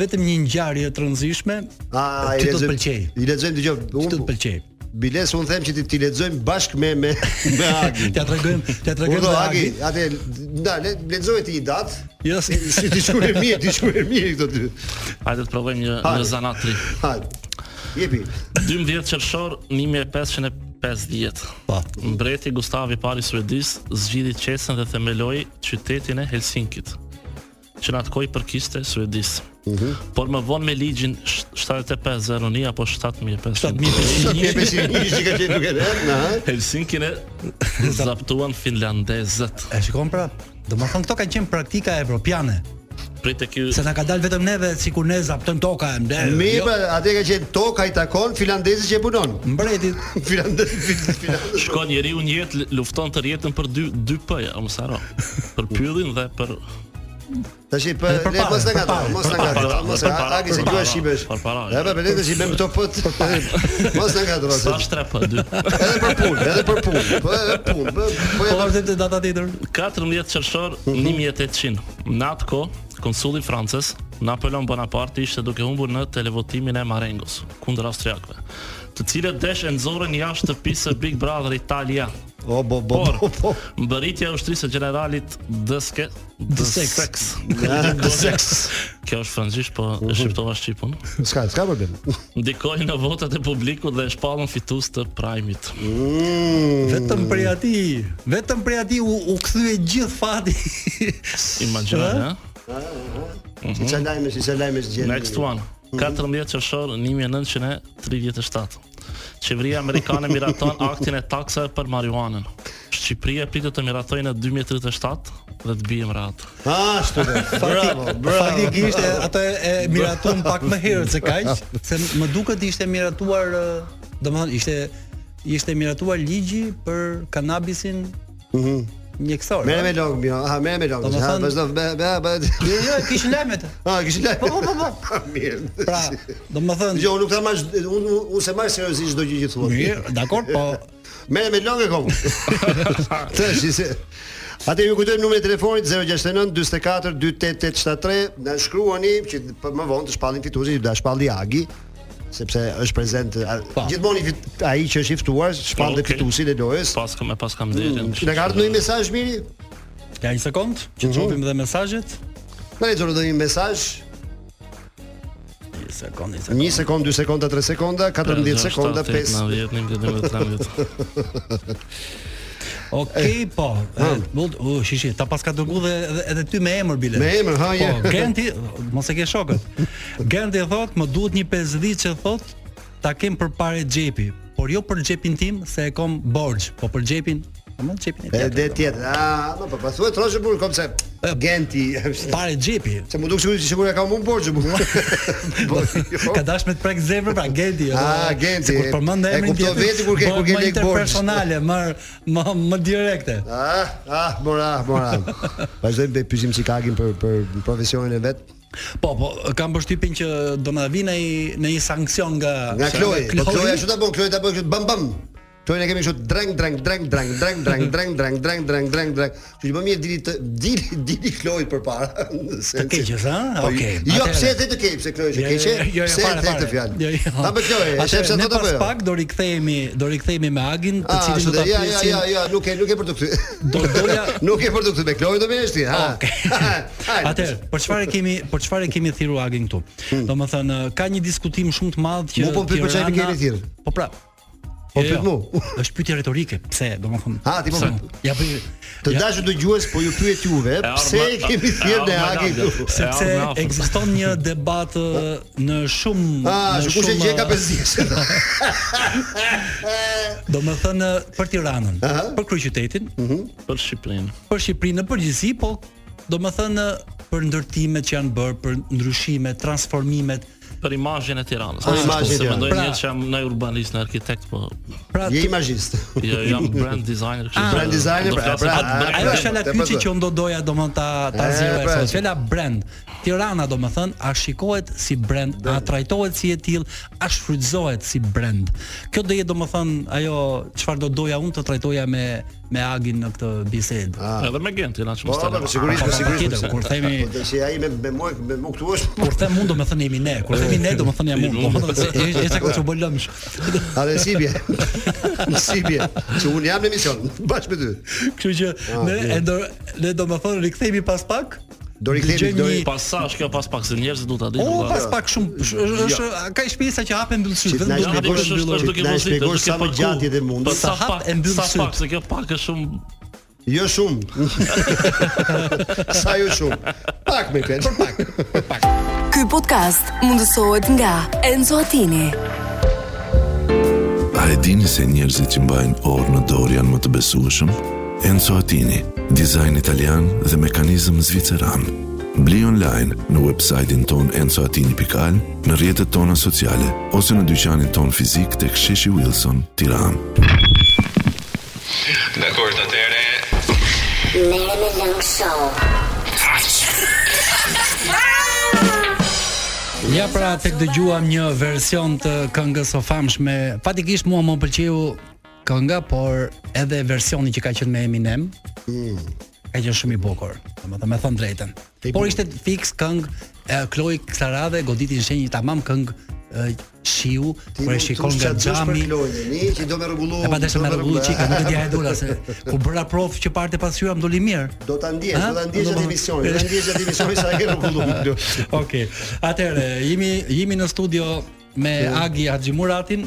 [SPEAKER 7] vetëm një ngjarje të rëndësishme.
[SPEAKER 6] A,
[SPEAKER 7] që do të pëlqej.
[SPEAKER 6] I lexojmë dëgjoj.
[SPEAKER 7] Që do të pëlqej.
[SPEAKER 6] Biles, unë them që ti ti lexojmë bashkë me me me Agin.
[SPEAKER 7] T'ja tregojmë, t'ja
[SPEAKER 6] Unë
[SPEAKER 7] tregojmë
[SPEAKER 6] do
[SPEAKER 7] me
[SPEAKER 6] Agi,
[SPEAKER 7] Agin.
[SPEAKER 6] atë na le lexoj ti një datë.
[SPEAKER 7] Jo, si-
[SPEAKER 6] Si ti shkruaj mirë, ti shkruaj mirë këto dy.
[SPEAKER 9] Hajde të provojmë një
[SPEAKER 6] Hajde.
[SPEAKER 9] një zanatri.
[SPEAKER 6] Hajde. Jepi.
[SPEAKER 9] 12 qershor 1550.
[SPEAKER 7] Po.
[SPEAKER 9] Mbreti Gustav i pari suedis zgjidhi qesën dhe themeloi qytetin e Helsinkit, që në atë kohë i përkiste Suedis. Por më vonë me ligjin sh- 7501 apo 7500.
[SPEAKER 7] 7500.
[SPEAKER 6] Jepi si një që ka qenë duke rënë, na. ha?
[SPEAKER 9] Helsinkin e zaptuan finlandezët.
[SPEAKER 7] E shikon pra? Do më thënë këto ka qenë praktika evropiane
[SPEAKER 9] Prit e ky
[SPEAKER 7] Se na ka dalë vetëm neve sikur ne zaptojmë toka e jo, mbe
[SPEAKER 6] Mirë, pra, atë ka qenë toka i takon finlandezit që e punon.
[SPEAKER 7] Mbretit
[SPEAKER 6] Finlandez finlandez.
[SPEAKER 9] Shkon njeriu në jetë, lufton të rjetën për dy dy p ja, mos haro. Për pyllin dhe për
[SPEAKER 6] Tash i për
[SPEAKER 7] Edhe për
[SPEAKER 6] le
[SPEAKER 7] parë,
[SPEAKER 6] mos ta
[SPEAKER 7] për
[SPEAKER 6] ngatë,
[SPEAKER 7] parë,
[SPEAKER 6] mos ta
[SPEAKER 9] për
[SPEAKER 6] ngatë,
[SPEAKER 9] parë,
[SPEAKER 6] mos
[SPEAKER 9] për
[SPEAKER 6] ta
[SPEAKER 9] parë,
[SPEAKER 6] ngatë, si
[SPEAKER 9] për
[SPEAKER 6] duhet
[SPEAKER 9] parë,
[SPEAKER 6] shibesh.
[SPEAKER 9] për parë.
[SPEAKER 6] Ja, po vetë si bëm këto pot. Mos ta ngatë, mos.
[SPEAKER 9] sa shtre p dy.
[SPEAKER 6] Edhe për punë, edhe për punë. Po edhe punë, po po
[SPEAKER 7] Po
[SPEAKER 6] edhe
[SPEAKER 7] vazhdim të data tjetër
[SPEAKER 9] 14 qershor
[SPEAKER 6] Mhm.
[SPEAKER 9] 1800. Në atë kohë, konsulli i Francës, Napoleon Bonaparte ishte duke humbur në televotimin e Marengos kundër austriakëve, të cilët desh e nxorën jashtë shtëpisë së Big Brother Italia.
[SPEAKER 6] O bo bo
[SPEAKER 9] Por,
[SPEAKER 6] bo. bo.
[SPEAKER 9] mbërritja e ushtrisë e generalit Dëske
[SPEAKER 7] Dëseks.
[SPEAKER 9] Dëseks. Kjo është frangjisht, po e shqiptova shqipun.
[SPEAKER 6] Mhm. S'ka, s'ka problem.
[SPEAKER 9] Ndikoi në votat e publikut dhe e shpallën fitues të primit.
[SPEAKER 6] Mm.
[SPEAKER 7] Vetëm prej ati Vetëm prej ati u, u këthyje gjithë fati
[SPEAKER 9] Imagjino,
[SPEAKER 7] Ëh?
[SPEAKER 9] ha?
[SPEAKER 6] Si çaj lajme, si çaj lajme gjë.
[SPEAKER 9] Next one. 14 qershor 1937. Qeveria amerikane miraton aktin e taksave për marijuanën. Shqipëria pritet të miratojë në 2037 dhe të bijem rahat.
[SPEAKER 6] Ah, ashtu. do. Bravo, bravo.
[SPEAKER 7] Faktikisht e- ato e, e miratuan pak më herët se kaq Se më duket ishte miratuar ë, domethënë ishte ishte miratuar ligji për kanabisin mjekësor.
[SPEAKER 6] Merë Mhm. me
[SPEAKER 7] a?
[SPEAKER 6] log, mjo. Aha, merë me log.
[SPEAKER 7] Do më
[SPEAKER 6] Ha,
[SPEAKER 7] thon-
[SPEAKER 6] vazhdo. Be, be, be.
[SPEAKER 7] Jo, jo, kishin lajmet.
[SPEAKER 6] Ah, kishin lajme.
[SPEAKER 7] Po, po, po, po.
[SPEAKER 6] Mirë.
[SPEAKER 7] Pra, domethënë
[SPEAKER 6] Jo, unë nuk ta marr, unë unë se marr seriozisht çdo gjë që thua.
[SPEAKER 7] Mirë, dakor, po
[SPEAKER 6] Merë me log e kom. Tash se Atë ju kujtojmë numrin e telefonit 069 44 28873. Na shkruani që për më vonë të shpallim fituesin, që do ta shpalli Agi sepse është prezent a-
[SPEAKER 7] Pa.
[SPEAKER 6] gjithmonë i fit- ai që është i ftuar shpall dhe
[SPEAKER 9] Okej.
[SPEAKER 6] fituesin e lojës.
[SPEAKER 9] Pas kam e pas kam derën.
[SPEAKER 6] Që na ka ardhur një mesazh miri?
[SPEAKER 7] Ja një sekond,
[SPEAKER 6] Mhm.
[SPEAKER 7] që të shohim edhe mesazhet.
[SPEAKER 6] Na lexoni do një mesazh.
[SPEAKER 7] Një sekond, një
[SPEAKER 6] 1 sekond, 2 sekonda, 3 sekonda, 14 sekonda, 5.
[SPEAKER 9] 10, 11, 12, 13.
[SPEAKER 7] Okej,
[SPEAKER 6] Eh.
[SPEAKER 7] po. Mund, u, shishi, ta pas ka dërguar dhe edhe, edhe ty me emër bile.
[SPEAKER 6] Me emër, ha, je.
[SPEAKER 7] Po, Genti, mos e ke shokët. Genti thot, më duhet një 50 që thot ta kem përpara xhepi, por jo për xhepin tim se e kam borxh, po për xhepin, më xhepin e tjetër.
[SPEAKER 6] Edhe tjetër. Ah, po po thuaj troshë burr kom se
[SPEAKER 7] E,
[SPEAKER 6] Genti.
[SPEAKER 7] Pare xhepi.
[SPEAKER 6] Se më duk sigurisht sigurisht ka unë borxhe burr. Po, jo.
[SPEAKER 7] Ka dashur me të prek zemrën pra Genti.
[SPEAKER 6] Ah,
[SPEAKER 7] edhe-
[SPEAKER 6] Genti,
[SPEAKER 7] Sikur përmend
[SPEAKER 6] e
[SPEAKER 7] emrin
[SPEAKER 6] kuptoj veti kur ke- kur ke
[SPEAKER 7] bëhet më
[SPEAKER 6] lek borxh.
[SPEAKER 7] interpersonale, më më më direkte.
[SPEAKER 6] Ah, ah, mora, mora. Vazhdojmë të pyesim Chicago për për profesionin e vet.
[SPEAKER 7] Po, po, kam përshtypjen që do na vi në një në një sanksion nga
[SPEAKER 6] Nga Kloj, po Kloja ashtu ta bën, Kloja ta bën kështu, bam bam. Këto ne kemi kështu dreng dreng dreng dreng dreng dreng dreng dreng dreng dreng dreng dreng. Që më mirë dili të- dili dili Kloit përpara. Në sensin-
[SPEAKER 7] keqes, ha?
[SPEAKER 6] Po,
[SPEAKER 7] Okej,
[SPEAKER 6] Jo,
[SPEAKER 7] atëherë. Jo,
[SPEAKER 6] pse the të keq, pse Kloi është e keqe? Pse the të fjalë? Ta më Kloi, e shef se
[SPEAKER 7] ne
[SPEAKER 6] do të
[SPEAKER 7] pas
[SPEAKER 6] bëj.
[SPEAKER 7] pak do rikthehemi, do rikthehemi me Agin, të
[SPEAKER 6] Ah,
[SPEAKER 7] cilin do
[SPEAKER 6] ashtu
[SPEAKER 7] ta
[SPEAKER 6] dhe, ja, ja,
[SPEAKER 7] pyesim.
[SPEAKER 6] ja, ja, nuk e nuk e për të kthy.
[SPEAKER 7] Do doja Ah,
[SPEAKER 6] Nuk e për të kthy me Kloi do veshti, ha.
[SPEAKER 7] Okej.
[SPEAKER 6] Hajde. Hmm.
[SPEAKER 7] Atëherë, për çfarë kemi për çfarë kemi thirrur Agin këtu? Domethënë ka një diskutim shumë të madh që
[SPEAKER 6] Mu po më pyet për çfarë
[SPEAKER 7] Tirana-
[SPEAKER 6] kemi thirrur.
[SPEAKER 7] Po pra.
[SPEAKER 6] Po
[SPEAKER 7] Jo, jo,
[SPEAKER 6] pyet mu.
[SPEAKER 7] Është pyetje retorike, pse? Domethënë.
[SPEAKER 6] Ha, ti po
[SPEAKER 7] sa-
[SPEAKER 6] pyet.
[SPEAKER 7] Ja bëj.
[SPEAKER 6] Të dashur dëgjues, po ju pyet juve,
[SPEAKER 9] ardhma-
[SPEAKER 6] pse e kemi thirrën e
[SPEAKER 9] ardhma
[SPEAKER 6] Agit
[SPEAKER 9] Agit.
[SPEAKER 6] këtu?
[SPEAKER 7] sepse
[SPEAKER 9] ardhmë afër.
[SPEAKER 7] ekziston një debat ë, në shumë
[SPEAKER 6] Ah,
[SPEAKER 7] në
[SPEAKER 6] shu kush e
[SPEAKER 7] shumë, uh,
[SPEAKER 6] gjen ka
[SPEAKER 7] ë,
[SPEAKER 6] 5 ditë.
[SPEAKER 7] Do më thënë për Tiranën, për kryeqytetin,
[SPEAKER 6] Mhm.
[SPEAKER 9] Për Shqipërinë.
[SPEAKER 7] për Shqipërinë në përgjithësi, po do më thënë për ndërtimet që janë bërë, për ndryshimet, transformimet.
[SPEAKER 9] Për imazhin e Tiranës.
[SPEAKER 6] Për imazhin e
[SPEAKER 9] Se mendoj
[SPEAKER 7] Tiranës.
[SPEAKER 9] pra... që jam në urbanist, në arkitekt, po
[SPEAKER 7] Pra
[SPEAKER 6] Je
[SPEAKER 7] të-
[SPEAKER 6] imagjist.
[SPEAKER 9] jo, jam brand designer, kështu.
[SPEAKER 6] Brand designer, pra- pra-
[SPEAKER 7] A-
[SPEAKER 6] Ah,
[SPEAKER 7] Ajo
[SPEAKER 6] brand,
[SPEAKER 7] është ala
[SPEAKER 6] te
[SPEAKER 7] pyetje
[SPEAKER 6] pazoj.
[SPEAKER 7] që unë do doja domon ta ta
[SPEAKER 6] E,
[SPEAKER 7] zgjidhja
[SPEAKER 6] pra,
[SPEAKER 7] sot.
[SPEAKER 6] që-
[SPEAKER 7] Fjala brand. Tirana domethën a shikohet si brand, a trajtohet si e tillë, a shfrytëzohet si brand. Kjo do jetë domethën ajo çfarë do doja unë të trajtoja me me Agin në këtë bisedë.
[SPEAKER 9] Edhe me Gentin, atë që
[SPEAKER 6] Po,
[SPEAKER 9] mos
[SPEAKER 6] po, sigurisht,
[SPEAKER 7] Po,
[SPEAKER 6] Ah, po, sigurisht. po,
[SPEAKER 7] tjetër, kur themi-
[SPEAKER 6] po, të që ai me me mua me mua këtu është.
[SPEAKER 7] Kur them unë domethën jemi ne, kur themi ne domethën jam unë. Domethën se është është kjo që bën lëmsh.
[SPEAKER 6] A dhe si bje? si bje? Që unë jam në mision, bashkë me ty.
[SPEAKER 7] Kështu që ne e do ne domethën rikthehemi pas pak.
[SPEAKER 6] Do rikthehemi,
[SPEAKER 7] dëgjojmë
[SPEAKER 6] do
[SPEAKER 7] një-
[SPEAKER 6] rikthehemi.
[SPEAKER 9] Pasazh kjo pas pak se njerëzit duhet ta dinë.
[SPEAKER 7] O,
[SPEAKER 9] valla.
[SPEAKER 7] pas pak shumë, sh- është ka shpesa që hapen mbyllësyt,
[SPEAKER 6] Që t'na
[SPEAKER 7] vetëm do
[SPEAKER 9] Ja,
[SPEAKER 7] të
[SPEAKER 9] po,
[SPEAKER 6] shpjegosh-
[SPEAKER 7] bësh
[SPEAKER 9] është- është
[SPEAKER 6] mbyllur.
[SPEAKER 9] duke
[SPEAKER 6] Na
[SPEAKER 9] mos i-
[SPEAKER 6] shpjegosh
[SPEAKER 9] duke
[SPEAKER 6] sa më
[SPEAKER 9] paku.
[SPEAKER 6] gjatë jetë e mundës.
[SPEAKER 9] Po,
[SPEAKER 7] Sa
[SPEAKER 9] Sa
[SPEAKER 7] hap
[SPEAKER 9] pak
[SPEAKER 7] e mbyll
[SPEAKER 9] Sa
[SPEAKER 7] syt.
[SPEAKER 9] pak se kjo pak është shumë
[SPEAKER 6] Jo shumë. Sa jo shumë. Pak me pen. Për pak.
[SPEAKER 7] Po,
[SPEAKER 1] Ky podcast mundësohet nga Enzo Attini.
[SPEAKER 2] A e dini se njerëzit që mbajnë orë në dorë janë më të besueshëm? Enzo Attini, dizajn italian dhe mekanizëm zviceran. Bli online në website-in ton enzoatini.al, në rjetët tona sociale, ose në dyqanin ton fizik të ksheshi Wilson, tiranë.
[SPEAKER 10] Dakor, atëre.
[SPEAKER 11] Merë me lëngë show.
[SPEAKER 7] Ja pra tek dëgjuam një version të këngës së famshme. Fatikisht mua më pëlqeu kënga, por edhe versioni që ka qenë me Eminem. Ka qenë shumë i bukur, domethënë me thënë drejtën. Por ishte fix këngë e Chloe kësaj radhe goditi shenjë tamam këngë e, shiu, por e shikon nga xhami.
[SPEAKER 6] Ni që do me rregullu.
[SPEAKER 7] E pa dashur
[SPEAKER 6] do
[SPEAKER 7] me rregullu
[SPEAKER 6] rregullu-
[SPEAKER 7] çika, nuk e di hajdula se ku bëra prof që parte pas hyra më doli mirë.
[SPEAKER 6] Do ta ndjesh,
[SPEAKER 7] Ha?
[SPEAKER 6] do ta ndjesh
[SPEAKER 7] Do
[SPEAKER 6] atë
[SPEAKER 7] më-
[SPEAKER 6] emisionin, do ta ndjesh atë emisionin sa e rregullu.
[SPEAKER 7] Okej. Atëherë, jemi jemi në studio me Agi Haxhimuratin,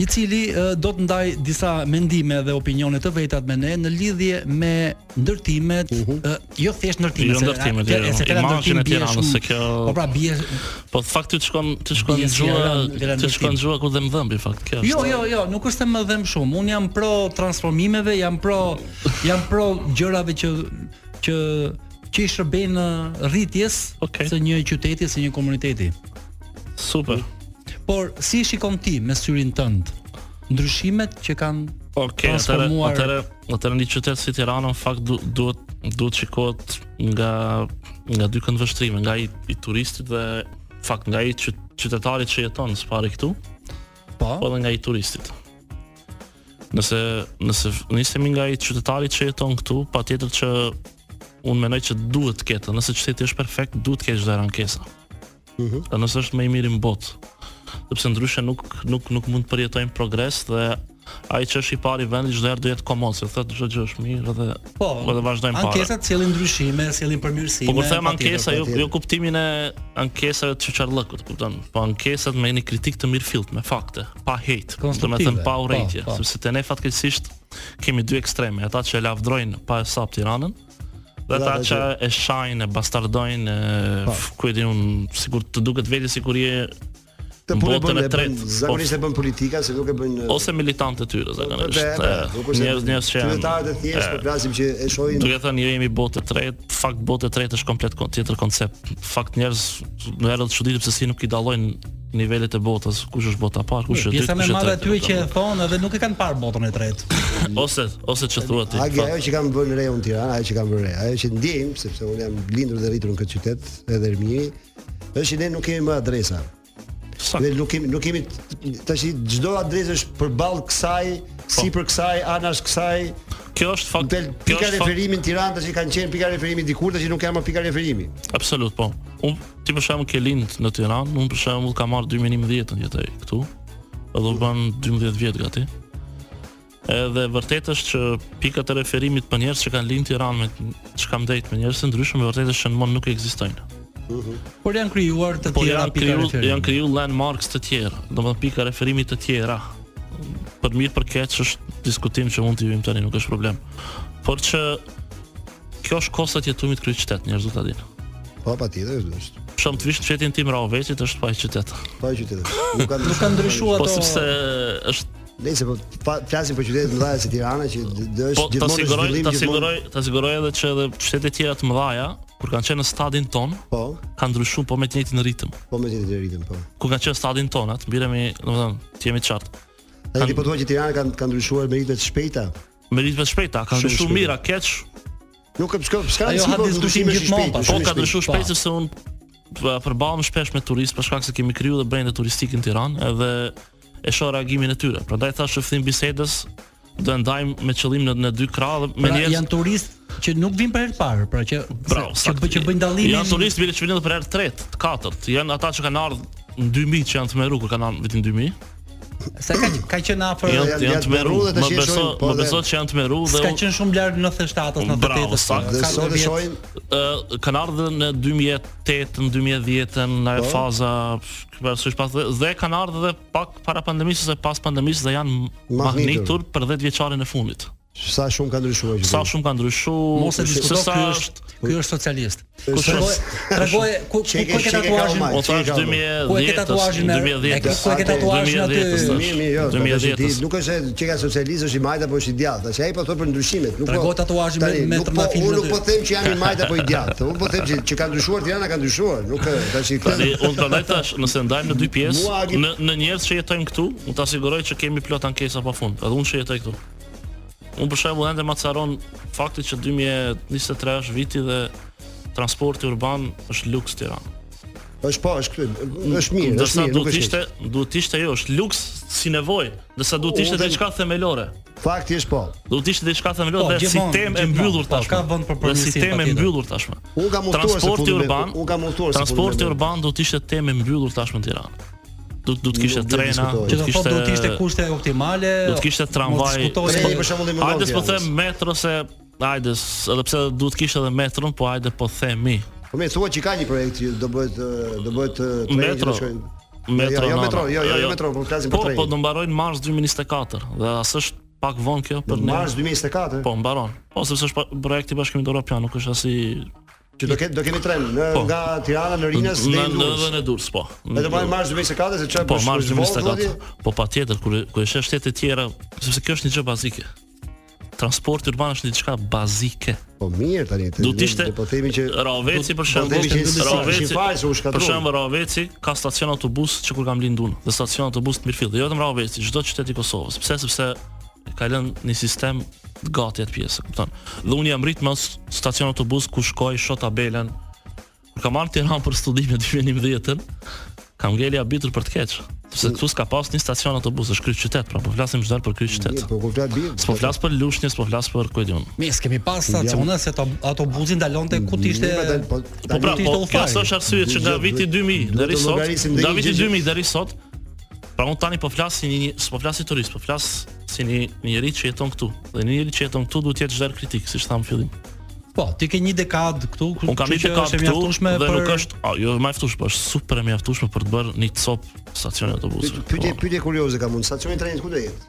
[SPEAKER 7] i cili ë, do të ndaj disa mendime dhe opinione të vetat me ne në lidhje me ndërtimet, ë, jo thjesht ndërtimet,
[SPEAKER 9] Jo
[SPEAKER 7] se-
[SPEAKER 9] ndërtimet,
[SPEAKER 7] a-
[SPEAKER 9] jo,
[SPEAKER 7] se fjala
[SPEAKER 9] imazhin
[SPEAKER 7] ndërtim
[SPEAKER 9] e
[SPEAKER 7] bie
[SPEAKER 9] Tiranës,
[SPEAKER 7] shumë-
[SPEAKER 9] se kjo-
[SPEAKER 7] Po pra bie
[SPEAKER 9] Po të fakt ti të shkon ti shkon
[SPEAKER 7] Bie si
[SPEAKER 9] gjua,
[SPEAKER 7] Iran- Iran
[SPEAKER 9] ti shkon
[SPEAKER 7] ndërtim.
[SPEAKER 9] gjua kur dhe më dhëmbi fakt. Kjo
[SPEAKER 7] Jo,
[SPEAKER 9] është.
[SPEAKER 7] jo, jo, nuk është se më dhem shumë. Un jam pro transformimeve, jam pro jam pro gjërave që që që i shërbejnë ë, rritjes
[SPEAKER 9] Okej.
[SPEAKER 7] së një qyteti, së një komuniteti. jo.
[SPEAKER 9] Super.
[SPEAKER 7] Por si i shikon ti me syrin tënd ndryshimet që kanë
[SPEAKER 9] Okej, atëre
[SPEAKER 7] transformuar
[SPEAKER 9] atëre atëre një qytet si Tirana në fakt du- duhet duhet shikohet nga nga dy kënd vështrime, nga i, i turistit dhe fakt nga i qy- qytetarit që jeton s'pari këtu, po
[SPEAKER 7] po?
[SPEAKER 9] edhe nga i turistit. Nëse nëse f- nisemi nga i qytetari që jeton këtu, patjetër që unë mendoj që duhet të ketë, nëse qyteti është perfekt, duhet të ketë çdo rankesa. Mhm. nëse është më i miri në botë. Sepse ndryshe nuk nuk nuk mund të përjetojmë progres dhe ai që është i pari vendi çdo herë do jetë komod, se thotë çdo gjë është mirë dhe
[SPEAKER 7] Po.
[SPEAKER 9] dhe vazhdojmë para.
[SPEAKER 7] Ankesat sjellin ndryshime, sjellin përmirësime.
[SPEAKER 9] Po kur them
[SPEAKER 7] patjetër,
[SPEAKER 9] ankesa, jo,
[SPEAKER 7] patjetër.
[SPEAKER 9] jo kuptimin e ankesave të çarllëkut, kupton? Po ankesat me një kritik të mirëfillt, me fakte, pa hate, do
[SPEAKER 7] Konstruktive,
[SPEAKER 9] të thënë pa
[SPEAKER 7] po,
[SPEAKER 9] urrëtie,
[SPEAKER 7] po.
[SPEAKER 9] sepse te ne fatkeqësisht kemi dy ekstreme, ata që e lavdrojnë pa e sap Tiranën, dhe ata që e shajnë, e bastardojnë, e,
[SPEAKER 7] Po.
[SPEAKER 9] f- ku e di un, sikur të duket vetë sikur je
[SPEAKER 6] Të punë
[SPEAKER 9] Botën
[SPEAKER 6] bën
[SPEAKER 9] e
[SPEAKER 6] e bën,
[SPEAKER 9] tretë,
[SPEAKER 6] zakonisht e bën politika, se nuk e bën
[SPEAKER 9] ose militantë të tyre zakonisht.
[SPEAKER 6] Dhe,
[SPEAKER 9] e,
[SPEAKER 6] pra, nuk është-
[SPEAKER 9] Njerëz njerëz që Eh.
[SPEAKER 6] Qytetarët e thjeshtë po flasim që e shohin
[SPEAKER 9] Duke thënë jo jemi botë e tretë, fakt botë e tretë është komplet kon- tjetër koncept. Fakt njerëz në erë të çuditë pse si nuk i dallojnë nivelet e botës, kush është bota e parë, kush është e dytë,
[SPEAKER 7] Pjesa më
[SPEAKER 9] kush
[SPEAKER 7] e madhe
[SPEAKER 9] është e
[SPEAKER 7] aty që e
[SPEAKER 9] tretë. jo,
[SPEAKER 7] thonë edhe nuk e kanë parë botën e tretë.
[SPEAKER 9] Ose ose ç'e thua ti.
[SPEAKER 6] Agi, ajo
[SPEAKER 9] fakt.
[SPEAKER 6] që kam vënë re unë Tiranë, ajo që kam vënë re, ajo që ndjejm, sepse unë jam lindur dhe rritur në këtë qytet, edhe Ermiri, është që ne nuk kemi më adresa. Dhe nuk kemi nuk kemi tash çdo adresë është përballë kësaj, sipër kësaj, anash kësaj.
[SPEAKER 9] Kjo është fakt.
[SPEAKER 6] Del
[SPEAKER 9] Po. kjo
[SPEAKER 6] pika
[SPEAKER 9] është fakt-
[SPEAKER 6] referimi në Tiranë tash kanë qenë pika referimi dikur tash nuk kanë më pika referimi.
[SPEAKER 9] Absolut, po. Un ti për shembull ke lind në Tiranë, un për shembull kam marr 2011-ën jetoj këtu. Edhe u bën 12 vjet gati. Edhe vërtet është që pikat e referimit për njerëz që kanë lind në Tiranë me që kam dejt me njerëz të ndryshëm, vërtet është që në mund nuk ekzistojnë.
[SPEAKER 7] Por janë krijuar të
[SPEAKER 9] Po
[SPEAKER 7] tjera
[SPEAKER 9] janë
[SPEAKER 7] pika
[SPEAKER 9] kriju
[SPEAKER 7] referimi.
[SPEAKER 9] janë kriju landmarks të tjera, domethënë pika referimi të tjera. Për mirë për keq është diskutim që mund të vim tani, nuk është problem. Por që kjo është kosta e jetimit kryeqytet, njerëzit ta dinë.
[SPEAKER 6] Po patjetër është.
[SPEAKER 9] Për shemb të vish në qytetin tim Rahovecit është pa i qytet.
[SPEAKER 6] Pa i qytet. Nuk kanë
[SPEAKER 7] Nuk kanë ndryshuar
[SPEAKER 9] Po
[SPEAKER 7] ato.
[SPEAKER 9] sepse është
[SPEAKER 6] Nëse po fa- flasim për qytetet mëdha si Tirana që d- d-
[SPEAKER 9] po
[SPEAKER 6] është
[SPEAKER 9] ta
[SPEAKER 6] gjithmonë në
[SPEAKER 9] siguroj,
[SPEAKER 6] zhvillim,
[SPEAKER 9] ta
[SPEAKER 6] gjithmonë-
[SPEAKER 9] siguroj, ta siguroj edhe që edhe qytetet tjera të mëdha kur kanë qenë në stadin ton,
[SPEAKER 6] po,
[SPEAKER 9] kanë ndryshuar po me të njëjtin ritëm.
[SPEAKER 6] po me qytetet e ritëm, po.
[SPEAKER 9] Kur kanë qenë në stadin ton, atë mbiremi, domethënë, të jemi të qartë.
[SPEAKER 6] Ai ti po thua që Tirana kanë kanë ndryshuar me ritme të shpejta.
[SPEAKER 9] Me ritme të shpejta, kanë
[SPEAKER 6] Shumë
[SPEAKER 9] ndryshuar
[SPEAKER 6] shpejt.
[SPEAKER 9] mira, keq,
[SPEAKER 6] Nuk e shkon, s'ka
[SPEAKER 7] Ajo
[SPEAKER 6] si
[SPEAKER 7] ha
[SPEAKER 6] po
[SPEAKER 7] diskutim
[SPEAKER 6] ndryshime
[SPEAKER 7] gjithmonë,
[SPEAKER 6] shpejt,
[SPEAKER 7] pa,
[SPEAKER 9] po
[SPEAKER 6] ndryshime
[SPEAKER 9] ka
[SPEAKER 6] shpejt.
[SPEAKER 9] ndryshuar
[SPEAKER 7] pa.
[SPEAKER 9] shpejt sepse un përballem shpesh me turistë për shkak se kemi kriju dhe brende turistike në Tiranë edhe e shoh reagimin e tyre. Prandaj thash që fillim bisedës do e ndajmë me qëllim në, në dy krah dhe me
[SPEAKER 7] Pra,
[SPEAKER 9] njerëz
[SPEAKER 7] janë turistë që nuk vinë për herë të parë, pra që
[SPEAKER 9] Bravo,
[SPEAKER 7] që,
[SPEAKER 9] saktë.
[SPEAKER 7] bë- që bëjnë dallimin.
[SPEAKER 9] Janë turistë bile që vinë edhe për herë të tretë, të katërt. Janë ata që kanë ardhur në 2000 që janë të meru kur kanë ardhur vitin 2000.
[SPEAKER 7] Sa ka ka qenë afër
[SPEAKER 9] Janë
[SPEAKER 6] janë-
[SPEAKER 9] janë
[SPEAKER 6] janë
[SPEAKER 9] të meru,
[SPEAKER 6] t'meru dhe tash
[SPEAKER 9] më
[SPEAKER 6] e
[SPEAKER 9] beso,
[SPEAKER 6] shohin, po,
[SPEAKER 9] më
[SPEAKER 6] dhe-
[SPEAKER 9] beso që janë të meru dhe
[SPEAKER 7] S'ka
[SPEAKER 9] unë-
[SPEAKER 7] qenë shumë larg 97-s,
[SPEAKER 9] Bravo,
[SPEAKER 7] 98-s.
[SPEAKER 9] saktë.
[SPEAKER 6] Dhe
[SPEAKER 7] po, ka
[SPEAKER 6] sot e
[SPEAKER 7] 40.
[SPEAKER 6] shohim
[SPEAKER 9] Ë, kanë ardhur në 2008, në 2010, në ajo faza përsysh pas dhe, dhe kanë ardhur edhe pak para pandemisë ose pas pandemisë dhe janë
[SPEAKER 6] Mahnitur.
[SPEAKER 9] mahnitur për 10 vjeçarin e fundit.
[SPEAKER 6] sa shumë ka ndryshuar po. qyteti.
[SPEAKER 9] Sa shumë ka ndryshuar,
[SPEAKER 7] Mos e diskuto,
[SPEAKER 9] se sa
[SPEAKER 7] ky është
[SPEAKER 9] është
[SPEAKER 7] ky është socialist. Ku
[SPEAKER 6] është-
[SPEAKER 7] shkoj, tregoj ku ku
[SPEAKER 6] Çeke-
[SPEAKER 7] ku ke
[SPEAKER 6] çeke ka
[SPEAKER 7] tatuazhin?
[SPEAKER 6] omaj.
[SPEAKER 9] Po thash
[SPEAKER 6] Çeka,
[SPEAKER 9] 2010,
[SPEAKER 7] Ku e ke tatuazhin me- e ke- ku e ke tatuazhin aty?
[SPEAKER 6] Mirë, mirë, jo, nuk është i
[SPEAKER 9] 2010.
[SPEAKER 6] di- nuk është e- që ka socialist është i majt apo është i djathtë. Tash ai po thon për ndryshimet, nuk po-
[SPEAKER 7] Trego tatuazhin me-
[SPEAKER 6] Tani,
[SPEAKER 7] me
[SPEAKER 6] nuk
[SPEAKER 7] tërna
[SPEAKER 6] po-
[SPEAKER 7] filmin
[SPEAKER 6] Unë nuk
[SPEAKER 7] aty.
[SPEAKER 6] po them që jam i majt apo i djathtë. Unë po them që që ka ndryshuar Tirana ka ndryshuar, nuk e- tash i
[SPEAKER 9] Tani Pra unë prandaj tash, nëse ndajmë në dy pjesë,
[SPEAKER 6] Mua agi-
[SPEAKER 9] në në njerëz që jetojnë këtu, unë ta siguroj që kemi plot ankesa pafund, edhe unë që jetoj këtu. Unë për shembull ende macaron fakti që 2023 është viti dhe transporti urban është luks Tiranë.
[SPEAKER 6] Është po, është ky, është mirë, është
[SPEAKER 9] Ndërsa
[SPEAKER 6] mirë, nuk
[SPEAKER 9] duhet
[SPEAKER 6] është.
[SPEAKER 9] ishte,
[SPEAKER 6] keq.
[SPEAKER 9] duhet ishte jo, është luks si nevojë, ndërsa
[SPEAKER 6] Po,
[SPEAKER 9] duhet ishte
[SPEAKER 6] unë-
[SPEAKER 9] diçka themelore.
[SPEAKER 6] Fakti është po.
[SPEAKER 9] Duhet ishte diçka
[SPEAKER 7] Po,
[SPEAKER 9] themelore dhe si
[SPEAKER 7] gjithmonë,
[SPEAKER 9] temë e
[SPEAKER 7] gjithmonë,
[SPEAKER 9] mbyllur
[SPEAKER 7] po,
[SPEAKER 9] tashmë.
[SPEAKER 7] ka vend për
[SPEAKER 9] Dhe
[SPEAKER 7] përmirësim,
[SPEAKER 9] si temë e
[SPEAKER 7] patjetër.
[SPEAKER 9] mbyllur tashmë.
[SPEAKER 6] Unë kam udhëtuar se
[SPEAKER 9] Transporti
[SPEAKER 6] fundi me-
[SPEAKER 9] urban,
[SPEAKER 6] unë kam udhëtuar se fundi
[SPEAKER 9] Transporti
[SPEAKER 6] me-
[SPEAKER 9] urban do të ishte temë e mbyllur tashmë në Tiranë. Do do të kishte
[SPEAKER 6] Nuk do
[SPEAKER 9] trena,
[SPEAKER 6] diskutoj.
[SPEAKER 7] Që
[SPEAKER 9] do
[SPEAKER 7] do thotë
[SPEAKER 9] të kishte
[SPEAKER 7] do të ishte kushte optimale.
[SPEAKER 9] do të kishte tramvaj.
[SPEAKER 6] Treni,
[SPEAKER 7] Diskutojmë
[SPEAKER 6] për shembull, i mundon
[SPEAKER 9] Hajde po
[SPEAKER 6] Tiranës.
[SPEAKER 9] them metro se hajde, s- edhe pse duhet kishte edhe metron, po hajde po themi.
[SPEAKER 6] Po më thua që ka një projekt që do bëhet e, do bëhet e, treni që do
[SPEAKER 9] Metro.
[SPEAKER 6] shkojnë-
[SPEAKER 9] Metro.
[SPEAKER 6] Jo, jo
[SPEAKER 9] nana.
[SPEAKER 6] metro, jo, jo, jo metro, po flasim për
[SPEAKER 9] Po,
[SPEAKER 6] treni.
[SPEAKER 9] po do mbarojnë mars 2024 dhe as është pak vonë kjo për ne.
[SPEAKER 6] Mars 2024.
[SPEAKER 9] Po mbaron. Po sepse është pa- projekti i Bashkimit Evropian, nuk është as i
[SPEAKER 6] Që do ketë do kemi tren në,
[SPEAKER 9] Po.
[SPEAKER 6] nga Tirana në Rinas deri në
[SPEAKER 9] në
[SPEAKER 6] Durrës.
[SPEAKER 9] në Durrës, po.
[SPEAKER 6] Edhe më mars 2024 se çfarë
[SPEAKER 9] Po
[SPEAKER 6] për
[SPEAKER 9] marrë
[SPEAKER 6] shkruaj zvonë, thotë?
[SPEAKER 9] 24. Po patjetër kur kur e sheh shtete të tjera, sepse kjo është një gjë bazike. Transporti urban është një diçka bazike.
[SPEAKER 6] Po mirë tani. të-
[SPEAKER 9] Do të ishte
[SPEAKER 6] po themi që
[SPEAKER 9] Raveci për
[SPEAKER 6] po themi
[SPEAKER 9] shembull,
[SPEAKER 6] që s'ishte
[SPEAKER 9] Raveci
[SPEAKER 6] fare se u shkatruan.
[SPEAKER 9] për shembull Raveci ka stacion autobus që kur kam lindur unë, dhe stacion autobus të Mirfield, jo vetëm Raveci, çdo qytet i Kosovës. Pse? Sepse e ka lënë një sistem të gati atë pjesë, e kupton? Dhe unë jam rrit mos stacion autobus ku shkoj, shoh tabelën. Kur kam ardhur në Tiranë për studime 2011-ën, kam ngeli abitur për të keq. Sepse këtu s'ka pas një stacion autobus, është kryeqytet, pra po flasim çdo herë për kryeqytet.
[SPEAKER 6] Mirë, Po kur flas bir.
[SPEAKER 9] S'po flas për Lushnjë, s'po flas për ku e diun.
[SPEAKER 7] Mes kemi pas stacione se to- autobusi ndalonte ku të ishte.
[SPEAKER 6] Mirë, po, dal- po,
[SPEAKER 9] Po
[SPEAKER 6] tani
[SPEAKER 9] pra,
[SPEAKER 7] ti
[SPEAKER 9] po,
[SPEAKER 7] ishte
[SPEAKER 9] kjo
[SPEAKER 7] ufaj.
[SPEAKER 9] është arsye që nga
[SPEAKER 6] Duhet-
[SPEAKER 9] viti 2000
[SPEAKER 6] duhet
[SPEAKER 9] deri
[SPEAKER 6] të
[SPEAKER 9] sot,
[SPEAKER 6] llogarisim dhe
[SPEAKER 9] nga
[SPEAKER 6] një
[SPEAKER 9] viti
[SPEAKER 6] gjë që-
[SPEAKER 9] 2000 deri sot, pra unë tani po flas si një, s'po flas si turist, po flas si një njerëz që jeton këtu. Dhe një njerëz që jeton këtu duhet të jetë çdo herë kritik, siç thamë në fillim.
[SPEAKER 7] Po, ti ke një dekadë këtu, ku
[SPEAKER 9] Unë kam
[SPEAKER 7] që
[SPEAKER 9] një
[SPEAKER 7] që
[SPEAKER 9] dekadë
[SPEAKER 7] është e
[SPEAKER 9] këtu
[SPEAKER 7] mjaftueshme
[SPEAKER 9] dhe
[SPEAKER 7] për-
[SPEAKER 9] nuk është, a, jo e mjaftueshme, po është super e mjaftueshme për të bërë një cop stacioni autobusi.
[SPEAKER 6] pyetje- Pyetje pyetje kurioze kam unë. Stacioni i trenit ku do jetë?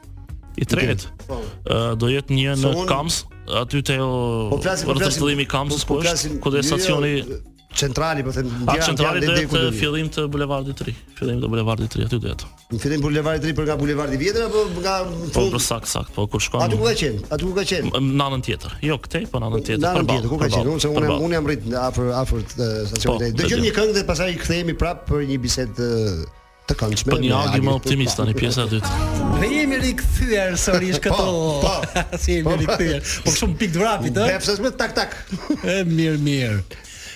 [SPEAKER 9] I tretë.
[SPEAKER 6] Po.
[SPEAKER 9] Ë, do jetë një
[SPEAKER 6] Se
[SPEAKER 9] në
[SPEAKER 6] unë-
[SPEAKER 9] Kams, aty te o
[SPEAKER 6] Po flasim po flasim.
[SPEAKER 9] rrotëllimi i Kamsës ku është, ku do jetë stacioni
[SPEAKER 6] centrali, po them
[SPEAKER 9] Pa
[SPEAKER 6] Tiranë,
[SPEAKER 9] centrali
[SPEAKER 6] Tiranë,
[SPEAKER 9] do
[SPEAKER 6] deri ku do
[SPEAKER 9] jetë
[SPEAKER 6] jetë.
[SPEAKER 9] fillim të bulevardit të ri. Fillim të bulevardit të ri aty do jetë.
[SPEAKER 6] Në fillim bulevardit të ri për nga bulevardi vjetër apo nga
[SPEAKER 9] Po
[SPEAKER 6] fund?
[SPEAKER 9] për sakt sakt, po kur shkon
[SPEAKER 6] Aty ku ka qenë? Aty ku ka qenë?
[SPEAKER 9] në anën tjetër. Jo, këtej, po në anën tjetër.
[SPEAKER 6] Në anën
[SPEAKER 9] përballë,
[SPEAKER 6] tjetër, ku ka
[SPEAKER 9] përballë,
[SPEAKER 6] qenë? Unë se unë jam-
[SPEAKER 9] përballë.
[SPEAKER 6] unë jam rrit në afër afër të stacionit.
[SPEAKER 9] Po,
[SPEAKER 6] të- Dëgjojmë
[SPEAKER 9] dëgjoj.
[SPEAKER 6] një këngë dhe pastaj kthehemi prapë për një bisedë të- të këndshme.
[SPEAKER 9] Po një
[SPEAKER 6] me
[SPEAKER 9] agi
[SPEAKER 6] Agit.
[SPEAKER 9] më optimist tani pjesa e dytë.
[SPEAKER 7] Dhe jemi rikthyer sërish këtu.
[SPEAKER 6] Po,
[SPEAKER 7] si jemi rikthyer. Po shumë pikë drapit,
[SPEAKER 6] Dhe
[SPEAKER 7] ë?
[SPEAKER 6] pse s'më tak tak.
[SPEAKER 7] E mirë, mirë.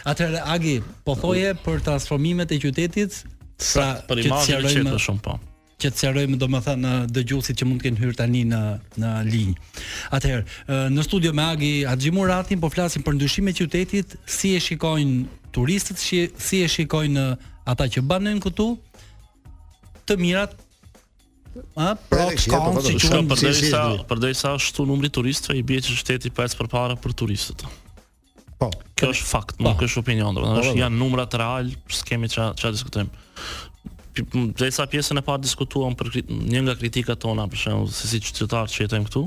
[SPEAKER 7] Atëherë Agi, po thoje për transformimet e qytetit Sa
[SPEAKER 9] Pra, për imazhin e qetë shumë, po.
[SPEAKER 7] Që të sqarojmë domethënë dëgjuesit që mund të kenë hyrë tani në në linjë. Atëherë, ë, në studio me Agi Haxhimuratin po flasim për ndryshimet e qytetit, si e shikojnë turistët, shi- si e shikojnë ë, ata që banojnë këtu, të mirat a
[SPEAKER 9] Po,
[SPEAKER 7] shkon si
[SPEAKER 9] shka
[SPEAKER 7] quhen
[SPEAKER 9] përderisa përderisa ashtu numri turistëve i bie që shteti pa ecë përpara për turistët.
[SPEAKER 6] Po.
[SPEAKER 9] Kjo është fakt, nuk është opinion,
[SPEAKER 10] Po,
[SPEAKER 9] domethënë
[SPEAKER 10] po, po.
[SPEAKER 9] është janë numrat real, s'kemi ç'a ç'a diskutojmë. Pi- m- Derisa pjesën e parë diskutuam për kri- një nga kritikat tona, për shembull, se si qytetarë që jetojmë këtu,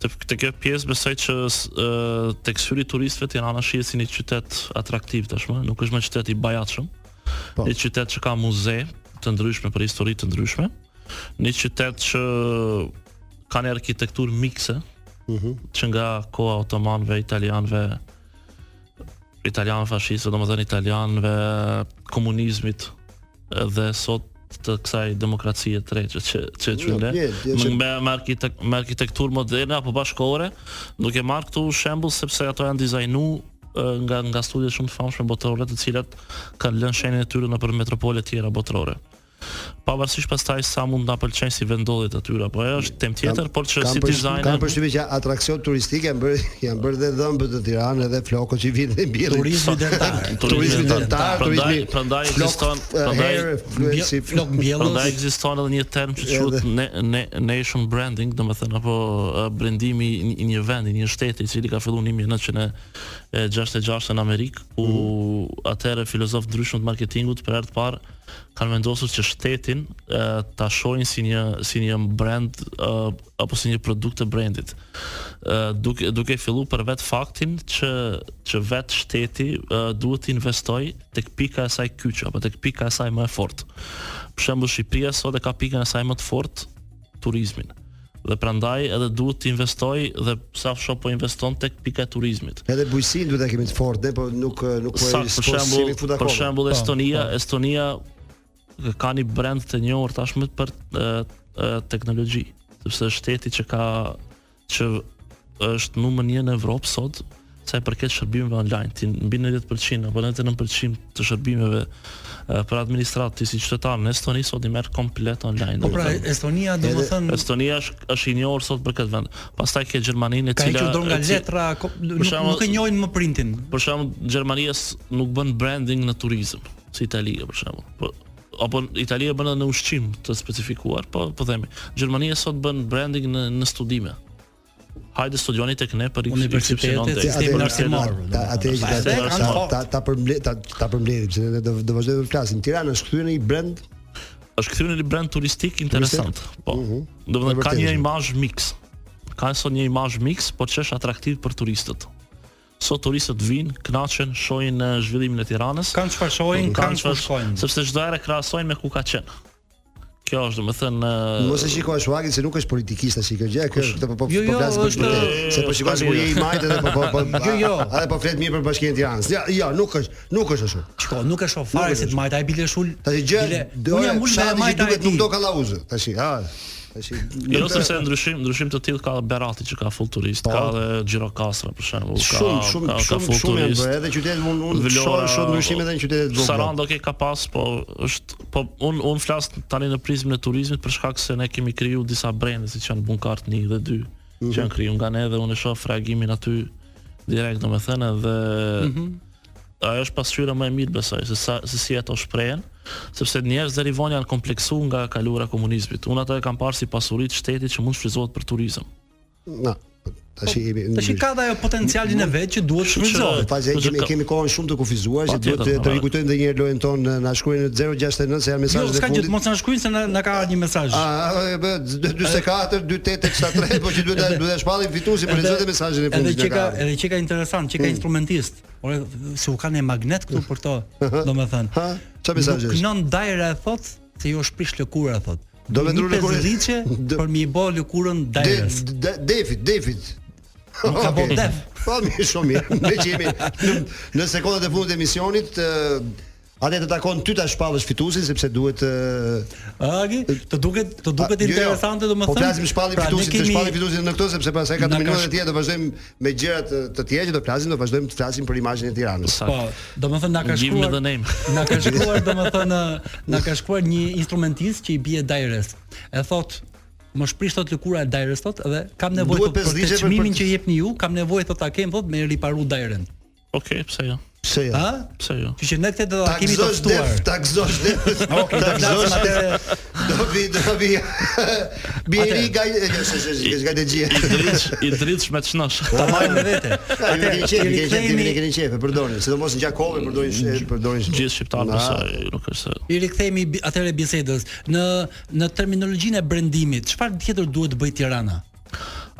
[SPEAKER 9] të, të kjo pjesë besoj që s- ë, tek syri turistëve Tirana shihet si një qytet atraktiv tashmë, nuk është më qytet i bajatshëm.
[SPEAKER 10] Po.
[SPEAKER 9] Një qytet që ka muze të ndryshme për histori të ndryshme. Një qytet që ka një arkitekturë mikse,
[SPEAKER 6] Mhm.
[SPEAKER 9] që nga koha otomanëve, italianëve, italian fashistëve, domethënë italianëve, komunizmit dhe sot të kësaj demokracie të re që që që
[SPEAKER 10] Jo,
[SPEAKER 9] qyne
[SPEAKER 10] bje, bje që-
[SPEAKER 9] me me, arkitek, me arkitekturë moderne apo bashkëkohore, duke marrë këtu shembull sepse ato janë dizajnu ë, nga nga studiet shumë të famshme botërore, të cilat kanë lënë shenjën e tyre nëpër metropole të tjera botërore. Pavarësisht pastaj sa mund na pëlqejnë si vendodhet atyra, po ajo është temë tjetër, por që si dizajn
[SPEAKER 6] Kam përshtypjen që atraksion turistik janë bërë janë bërë dhe dhëmbët në Tiranë edhe flokët që vinë dhe mbjellin.
[SPEAKER 7] Turizmi dërtar.
[SPEAKER 6] turizmi dërtar,
[SPEAKER 9] Prandaj
[SPEAKER 6] turizmi.
[SPEAKER 9] prandaj
[SPEAKER 6] flok,
[SPEAKER 9] ekziston
[SPEAKER 6] eh,
[SPEAKER 9] prandaj
[SPEAKER 6] herë, flok- si-
[SPEAKER 9] Prandaj ekziston edhe një term që quhet ne- ne- nation branding, domethënë apo eh, brendimi i një- i një vendi, një shteti i cili ka filluar në 1966 në Amerikë, ku atëherë filozof ndryshëm të marketingut për herë të parë kanë vendosur që shtetin eh, ta shohin si një si një brand eh, apo si një produkt të brandit. Ë, duke duke filluar për vetë faktin që që vetë shteti ë, duhet të investojë tek pika e saj kyç apo tek pika e saj më e fortë. Për shembull Shqipëria sot e ka pikën e saj më të fortë turizmin. Dhe prandaj edhe duhet të investojë dhe sa shoh po investon tek pika e turizmit.
[SPEAKER 6] Edhe bujqësinë duhet ta kemi të fortë, ne, po nuk nuk po
[SPEAKER 9] Sakt, për shembull, për
[SPEAKER 7] Po,
[SPEAKER 9] shembull Estonia, Estonia ka një brand të njohur tashmë për e, e, teknologji, sepse është shteti që ka që është numër 1 në Evropë sot sa i përket shërbimeve online, ti mbi 90% apo 99% të shërbimeve e, për administratë ti si qytetar në Estoni sot i merr komplet online.
[SPEAKER 7] Po pra,
[SPEAKER 9] domethënë.
[SPEAKER 7] Estonia, domethënë-
[SPEAKER 9] Estonia është është i njohur sot për këtë vend. Pastaj ke Gjermaninë e
[SPEAKER 7] Ka
[SPEAKER 9] cila
[SPEAKER 7] hequr dorë nga
[SPEAKER 9] e cila-
[SPEAKER 7] letra, ko- nuk,
[SPEAKER 9] Për shembull-
[SPEAKER 7] nuk e njohin më printin.
[SPEAKER 9] Për shembull, Gjermania s- nuk bën branding në turizëm, si Italia për shembull. Po apo Italia bën edhe në ushqim të specifikuar, po po themi. Gjermania sot bën branding në në studime. Hajde studioni tek ne për
[SPEAKER 6] Universitetet, sistemi arsimor. Atë që ta ta- ta ta përmble- ta ta përmbledhim se ne do do vazhdojmë të flasim. Tirana është kthyer në një brand
[SPEAKER 9] është kthyer në një brand turistik interesant. Po. Do
[SPEAKER 6] E
[SPEAKER 9] të thonë ka
[SPEAKER 6] vërtetë
[SPEAKER 9] një
[SPEAKER 6] Mhm. është.
[SPEAKER 9] imazh miks. Ka sot një imazh miks, por që është atraktiv për turistët. Sot turistët vinë, kënaqen, shohin eh, zhvillimin e Tiranës.
[SPEAKER 7] Kanë çfarë shohin, kanë ku shkojnë.
[SPEAKER 9] Sepse çdo herë krahasojnë me ku ka qenë. Kjo është domethënë
[SPEAKER 6] Mos e shikoj shuagin se nuk është politikist as i kjo gjë, kjo është këtë po po
[SPEAKER 9] Jo,
[SPEAKER 6] po
[SPEAKER 9] jo,
[SPEAKER 6] flas për
[SPEAKER 9] është-
[SPEAKER 6] vërtet. Se po shikoj se je i majtë dhe po po po.
[SPEAKER 7] Jo, jo.
[SPEAKER 6] Edhe po flet mirë për bashkinë e Tiranës. Ja, jo, nuk është, nuk është ashtu.
[SPEAKER 7] Shiko, nuk e shoh fare se të majta e bile shul.
[SPEAKER 6] Tash gjë,
[SPEAKER 7] bile-
[SPEAKER 6] do
[SPEAKER 7] unë
[SPEAKER 6] të
[SPEAKER 7] jam ulë me majta e
[SPEAKER 6] duket
[SPEAKER 7] ti.
[SPEAKER 6] nuk do kallauzë. Tash, ha. Tash.
[SPEAKER 9] Jo sepse ndryshim, ndryshim të tillë ka Berati që ka full turist, ka edhe Gjirokastra për shembull, ka
[SPEAKER 6] Po. Shumë, shumë,
[SPEAKER 9] ka, ka
[SPEAKER 6] shumë,
[SPEAKER 9] full
[SPEAKER 6] shumë janë
[SPEAKER 9] turist.
[SPEAKER 6] bërë, edhe qytetet unë unë shoh shoh ndryshime edhe në qytetet vogla.
[SPEAKER 9] Saranda okay ka pas, po është po un un flas tani në prizmën e turizmit për shkak se ne kemi kriju disa brende siç janë Bunkart 1 dhe 2, që janë kriju nga ne dhe unë e shoh reagimin aty direkt domethënë dhe ajo është pasqyra më e mirë besoj se sa se si ato shprehen, sepse njerëz deri vonë janë kompleksuar nga kalura e komunizmit. Unë ato e kam parë si pasuri të shtetit që mund shfrytëzohet për turizëm.
[SPEAKER 6] Na, tash jemi.
[SPEAKER 7] Po, Tash i ka dhe ajo potencialin e vet që duhet shfrytëzohet.
[SPEAKER 6] Fazë kemi kemi kohën shumë të kufizuar që duhet
[SPEAKER 7] Patjetër,
[SPEAKER 6] të- të
[SPEAKER 7] po.
[SPEAKER 6] rikujtojmë edhe një herë lojën tonë në- na shkruajnë në 069 se janë
[SPEAKER 7] Jo,
[SPEAKER 6] mesazhet e
[SPEAKER 7] s'ka gjë,
[SPEAKER 6] fundit.
[SPEAKER 7] mos na shkruajnë se na, na ka ardhur një mesazh.
[SPEAKER 6] A, a, e bë, 44 2873 po që duhet ta duhet ta shpallim fituesin për çdo mesazhin e fundit. Mm.
[SPEAKER 7] Edhe
[SPEAKER 6] që
[SPEAKER 7] që ka, edhe që ka interesant, që ka instrumentist. Ore, se u kanë e magnet këtu për to, domethënë.
[SPEAKER 6] Ha, çfarë mesazhi
[SPEAKER 7] Nuk
[SPEAKER 6] është?
[SPEAKER 7] nën dajra e thot se jo shprish lëkura thot.
[SPEAKER 6] Do me ndru lëkurën.
[SPEAKER 7] lëkurë. për mi i bë lëkurën dajrës.
[SPEAKER 6] De- de- Defit, defit.
[SPEAKER 7] Nuk ka bërë
[SPEAKER 6] Okej.
[SPEAKER 7] def.
[SPEAKER 6] Po mirë, shumë mirë. Ne që jemi në, në sekondat e fundit të emisionit, ë, Atë të takon ty ta shpallësh fituesin sepse duhet
[SPEAKER 7] Agi, të duket të duket interesante
[SPEAKER 6] Po
[SPEAKER 7] domethënë.
[SPEAKER 6] flasim shpallin
[SPEAKER 7] Pra,
[SPEAKER 6] fituesin, të shpallin fituesin në këtë sepse pastaj ka të
[SPEAKER 7] Na ka
[SPEAKER 6] minuta
[SPEAKER 7] sh-
[SPEAKER 6] të tjera do vazhdojmë me gjëra të, të tjera që do flasim, do vazhdojmë të flasim për imazhin e Tiranës.
[SPEAKER 7] Po, domethënë na ka
[SPEAKER 9] Give me
[SPEAKER 7] shkruar
[SPEAKER 9] the name.
[SPEAKER 7] Na ka shkruar domethënë na ka shkruar një instrumentist që i bie Dajres. E thot Më shprish thot lëkura e Dajres thot dhe kam
[SPEAKER 6] Duhet
[SPEAKER 7] nevojë thot, për
[SPEAKER 6] pesë
[SPEAKER 7] të
[SPEAKER 6] ligje për-
[SPEAKER 7] çmimin
[SPEAKER 6] për-
[SPEAKER 7] që jepni ju, kam nevojë thot ta kem thot me riparu Dajren.
[SPEAKER 9] Okej, pse jo?
[SPEAKER 6] Pse jo?
[SPEAKER 7] Ha?
[SPEAKER 9] Pse jo?
[SPEAKER 7] Që që ne këtë do ta
[SPEAKER 6] Ta
[SPEAKER 7] kemi të
[SPEAKER 6] gëzosh
[SPEAKER 7] ftuar.
[SPEAKER 6] def, ta gëzosh def.
[SPEAKER 7] Okej, do
[SPEAKER 6] ta
[SPEAKER 7] të
[SPEAKER 6] gëzosh
[SPEAKER 7] flasim atëre.
[SPEAKER 6] Do vi, do vi. Bieri ga, ga të gjë.
[SPEAKER 9] Idriç, Idriç me çnosh.
[SPEAKER 7] Ta marrim me vete.
[SPEAKER 6] Atë
[SPEAKER 7] Atëherë,
[SPEAKER 6] keni qenë,
[SPEAKER 7] i
[SPEAKER 6] keni qenë,
[SPEAKER 7] rikthehemi-
[SPEAKER 6] keni qenë qenë, përdorin, sidomos në Gjakovë përdorin, përdorin
[SPEAKER 9] Gjithë shqiptarë
[SPEAKER 6] Na.
[SPEAKER 9] besoj, nuk është se
[SPEAKER 7] I rikthehemi bi- atëre bisedës në në terminologjinë e brendimit. Çfarë tjetër duhet të bëj Tirana?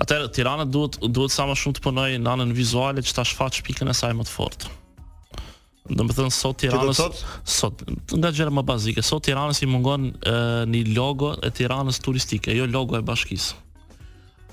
[SPEAKER 9] Atëherë Tirana duhet duhet sa më shumë të punojë në anën vizuale që ta shfaq pikën e saj më të fortë. Do të thënë sot
[SPEAKER 6] do
[SPEAKER 9] Tiranës
[SPEAKER 6] thotë?
[SPEAKER 9] sot nga gjëra më bazike, sot Tiranës i mungon e, një logo e Tiranës turistike, jo logo e bashkisë.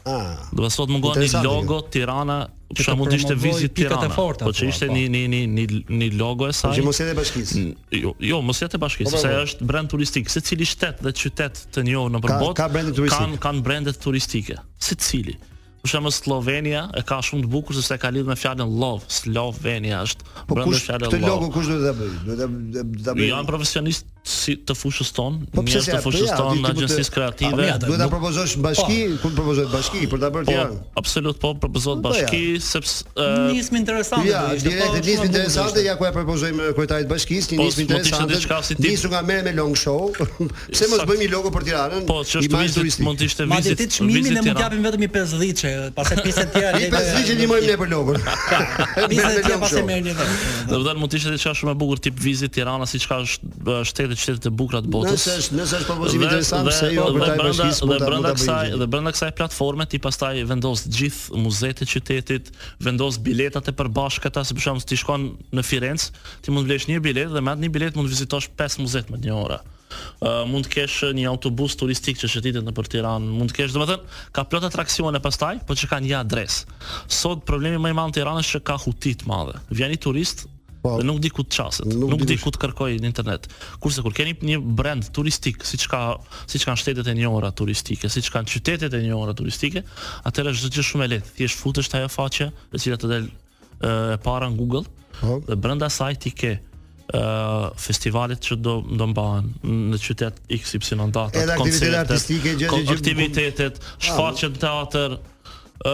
[SPEAKER 6] Ah.
[SPEAKER 9] Do të sot mungon një
[SPEAKER 6] Interesante kjo.
[SPEAKER 9] logo Tirana,
[SPEAKER 7] Që
[SPEAKER 9] për shembull
[SPEAKER 7] të
[SPEAKER 9] ishte
[SPEAKER 7] promovoj
[SPEAKER 9] vizit
[SPEAKER 7] pikat e
[SPEAKER 9] Tirana.
[SPEAKER 7] forta,
[SPEAKER 9] Po që
[SPEAKER 7] thua,
[SPEAKER 9] ishte
[SPEAKER 7] po.
[SPEAKER 9] një një një një një logo e
[SPEAKER 6] Po
[SPEAKER 9] saj.
[SPEAKER 6] që mos edhe bashkisë.
[SPEAKER 9] Jo, jo, mos jetë e bashkisë,
[SPEAKER 6] Po, po,
[SPEAKER 9] sepse
[SPEAKER 6] po.
[SPEAKER 9] është brend turistik. Secili shtet dhe qytet të njohur nëpër
[SPEAKER 6] Ka-
[SPEAKER 9] botë
[SPEAKER 6] ka brende turistike.
[SPEAKER 9] Kan kanë brende turistike. Secili. Për shembull Slovenia e ka shumë të bukur sepse ka lidhur me fjalën love. Slovenia është
[SPEAKER 6] Po
[SPEAKER 9] brenda
[SPEAKER 6] kush
[SPEAKER 9] fjalën
[SPEAKER 6] këtë
[SPEAKER 9] love.
[SPEAKER 6] logo kush duhet ta bëj? Duhet ta- duhet ta bëj.
[SPEAKER 9] Janë profesionistë si të fushës tonë,
[SPEAKER 6] Po pse
[SPEAKER 9] njerëz
[SPEAKER 6] se-
[SPEAKER 9] të
[SPEAKER 6] po
[SPEAKER 9] fushës
[SPEAKER 6] ja,
[SPEAKER 9] tonë,
[SPEAKER 6] ti-
[SPEAKER 9] në
[SPEAKER 6] ti mund të-
[SPEAKER 9] agjencisë
[SPEAKER 6] Po
[SPEAKER 9] kreative.
[SPEAKER 6] ja, duhet ta
[SPEAKER 7] nuk-
[SPEAKER 6] propozosh në bashki, ku të propozohet bashki për ta bërë
[SPEAKER 9] Po,
[SPEAKER 6] Tiranë.
[SPEAKER 9] absolut po propozohet
[SPEAKER 6] Po, ja.
[SPEAKER 9] bashki sepse ë,
[SPEAKER 7] Nismë interesante.
[SPEAKER 6] Ja,
[SPEAKER 7] do ishte, po,
[SPEAKER 6] direkt
[SPEAKER 7] shumë e
[SPEAKER 6] nismë
[SPEAKER 7] bukur
[SPEAKER 6] interesante,
[SPEAKER 7] ishte.
[SPEAKER 6] ja ku e propozojmë kryetarit të bashkisë, një
[SPEAKER 9] Po,
[SPEAKER 6] nismë
[SPEAKER 9] s'mund t'ishte
[SPEAKER 6] interesante.
[SPEAKER 9] diçka si tip-
[SPEAKER 6] Nisu nga merre me long show. Pse mos
[SPEAKER 9] Sakt.
[SPEAKER 6] bëjmë një logo për Tiranën?
[SPEAKER 9] po që është
[SPEAKER 6] Imazh
[SPEAKER 9] vizit
[SPEAKER 6] turistik.
[SPEAKER 9] mund të ishte
[SPEAKER 7] Madje
[SPEAKER 9] vizit.
[SPEAKER 7] ti çmimin
[SPEAKER 9] vizit
[SPEAKER 7] ne mund
[SPEAKER 9] Tiranë.
[SPEAKER 7] japim vetëm i 50 çe, pastaj pjesë të tjera
[SPEAKER 6] Një pesë vjeçë ndihmojmë ne për logon.
[SPEAKER 7] 50 tjera pastaj
[SPEAKER 6] merrem.
[SPEAKER 7] merrni Pra, vetë.
[SPEAKER 9] Do të thënë mund të ishte diçka shumë e bukur tip vizit Tirana siç ka sh- shtete qytetet e bukura të botës.
[SPEAKER 6] Nëse është, nëse është propozim
[SPEAKER 9] Po, Dhe-
[SPEAKER 6] interesant,
[SPEAKER 9] dhe-
[SPEAKER 6] pse jo
[SPEAKER 9] dhe
[SPEAKER 6] për ta
[SPEAKER 9] brenda-
[SPEAKER 6] bashkisë mund ta
[SPEAKER 9] dhe
[SPEAKER 6] mund
[SPEAKER 9] brenda
[SPEAKER 6] ta
[SPEAKER 9] kësaj
[SPEAKER 6] bëjmë.
[SPEAKER 9] dhe brenda kësaj platforme ti pastaj vendos të gjithë muzeet e qytetit, vendos biletat e përbashkëta, se për shembull ti shkon në Firenze, ti mund të blesh një biletë dhe me atë një biletë mund të vizitosh 5 muze në një orë. Uh, mund të kesh një autobus turistik që shëtitet nëpër Tiranë, mund të kesh, domethënë, ka plot atraksione pastaj, po që kanë një adresë. Sot problemi më i madh në Tiranë është që ka huti të madhe. Vjen një turist
[SPEAKER 6] Po.
[SPEAKER 9] Dhe nuk di ku të qaset,
[SPEAKER 6] Nuk
[SPEAKER 9] nuk,
[SPEAKER 6] di
[SPEAKER 9] di
[SPEAKER 6] kush-
[SPEAKER 9] ku të kërkoj në internet. Kurse kur keni një brand turistik, siç ka siç kanë shtetet e njohura turistike, siç kanë qytetet e njohura turistike, atëherë është çdo gjë shumë e lehtë. Thjesht futesh te ajo faqe, e cila të del e e para në Google,
[SPEAKER 6] Po.
[SPEAKER 9] dhe brenda saj ti ke ë festivalet që do do mbahen në qytet XY data,
[SPEAKER 6] Edhe aktivitete artistike, gjë- gjë- gjë-
[SPEAKER 9] aktivitetet, shfaqje në teatr, ë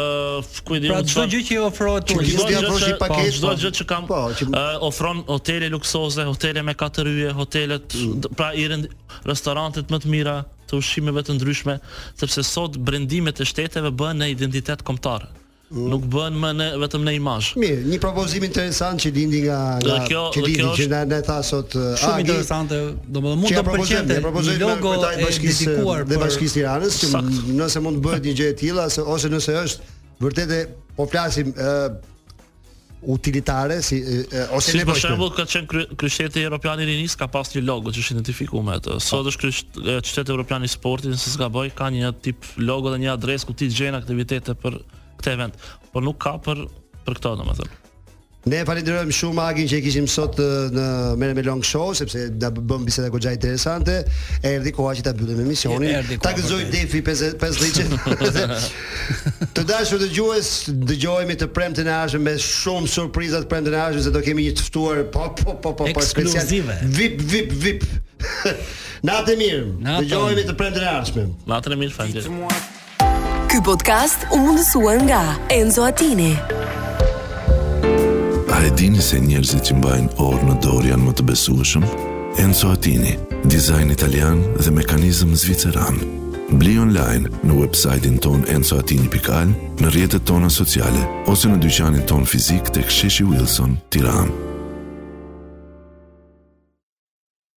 [SPEAKER 9] ku i
[SPEAKER 7] Pra
[SPEAKER 9] diun
[SPEAKER 7] çdo gjë që ofrohet
[SPEAKER 6] Që Çdo
[SPEAKER 7] turizmit,
[SPEAKER 9] Çdo gjë
[SPEAKER 6] gjë
[SPEAKER 9] që-
[SPEAKER 6] që- paketë,
[SPEAKER 9] po, çdo
[SPEAKER 6] po.
[SPEAKER 9] gjë që kam
[SPEAKER 6] Po, që-
[SPEAKER 9] ë, ofron hotele luksoze, hotele me katër yje, hotelet
[SPEAKER 6] Mm.
[SPEAKER 9] d- pra i rend, restorantet më të mira, të ushqimeve të ndryshme, sepse sot brendimet e shteteve bëhen në identitet kombëtar.
[SPEAKER 6] Mm.
[SPEAKER 9] Nuk bëhen më në vetëm në imazh.
[SPEAKER 6] Mirë, një propozim interesant që lindi nga nga
[SPEAKER 9] Dhe kjo-
[SPEAKER 6] që
[SPEAKER 9] dhe
[SPEAKER 6] lindi
[SPEAKER 9] kjo
[SPEAKER 6] që
[SPEAKER 9] është-
[SPEAKER 6] na na tha sot uh,
[SPEAKER 7] shumë
[SPEAKER 6] Agi,
[SPEAKER 7] interesante, domethënë mund
[SPEAKER 6] që ja
[SPEAKER 7] të
[SPEAKER 6] propozojmë,
[SPEAKER 7] pëlqente
[SPEAKER 6] ja
[SPEAKER 7] një
[SPEAKER 6] propozojmë
[SPEAKER 7] logo
[SPEAKER 6] kryetarit
[SPEAKER 7] e
[SPEAKER 6] bashkisë
[SPEAKER 7] dedikuar
[SPEAKER 6] dhe
[SPEAKER 7] për
[SPEAKER 6] bashkisë Tiranës që
[SPEAKER 9] Sakt.
[SPEAKER 6] m- nëse mund bëhet një gjë e tilla se- ose nëse është vërtet e po flasim ë utilitare si e, e, ose
[SPEAKER 9] Si për
[SPEAKER 6] nevojshme.
[SPEAKER 9] shembull ka qenë kry, kryshteti evropian i rinis ka pas një logo që është identifikuar me
[SPEAKER 6] Po.
[SPEAKER 9] atë. Sot është krysht, e, qyteti evropian i sportit, nëse s'gaboj, ka një tip logo dhe një adresë ku ti gjen aktivitete për këtë event, por nuk ka për për këto domethënë.
[SPEAKER 6] Ne falenderojmë shumë Agin që e kishim sot ë, në Merë me Long Show sepse na bëm biseda goxha interesante. Erdhi koha që ta mbyllim emisionin.
[SPEAKER 7] Erdhi koha,
[SPEAKER 6] Ta gëzoj
[SPEAKER 7] vërtet.
[SPEAKER 6] defi 50 Të dashur dëgjues, dëgjohemi të premten e ardhshëm me shumë surpriza të premten e ardhshëm se do kemi një të ftuar po po po po po special.
[SPEAKER 7] Ekskluzive.
[SPEAKER 6] VIP VIP VIP. Natë e mirë.
[SPEAKER 7] Natë.
[SPEAKER 6] Dëgjohemi të premten e ardhshëm.
[SPEAKER 9] Natën e mirë, faleminderit.
[SPEAKER 1] Ky podcast u mundësua nga Enzo Attini.
[SPEAKER 2] A e dini se njerëzit që mbajnë orë në dorë janë më të besueshëm? Enzo Attini, dizajn italian dhe mekanizëm zviceran. Bli online në website-in ton enzoatini.al, në rrjetet tona sociale ose në dyqanin ton fizik tek Sheshi Wilson, Tiranë.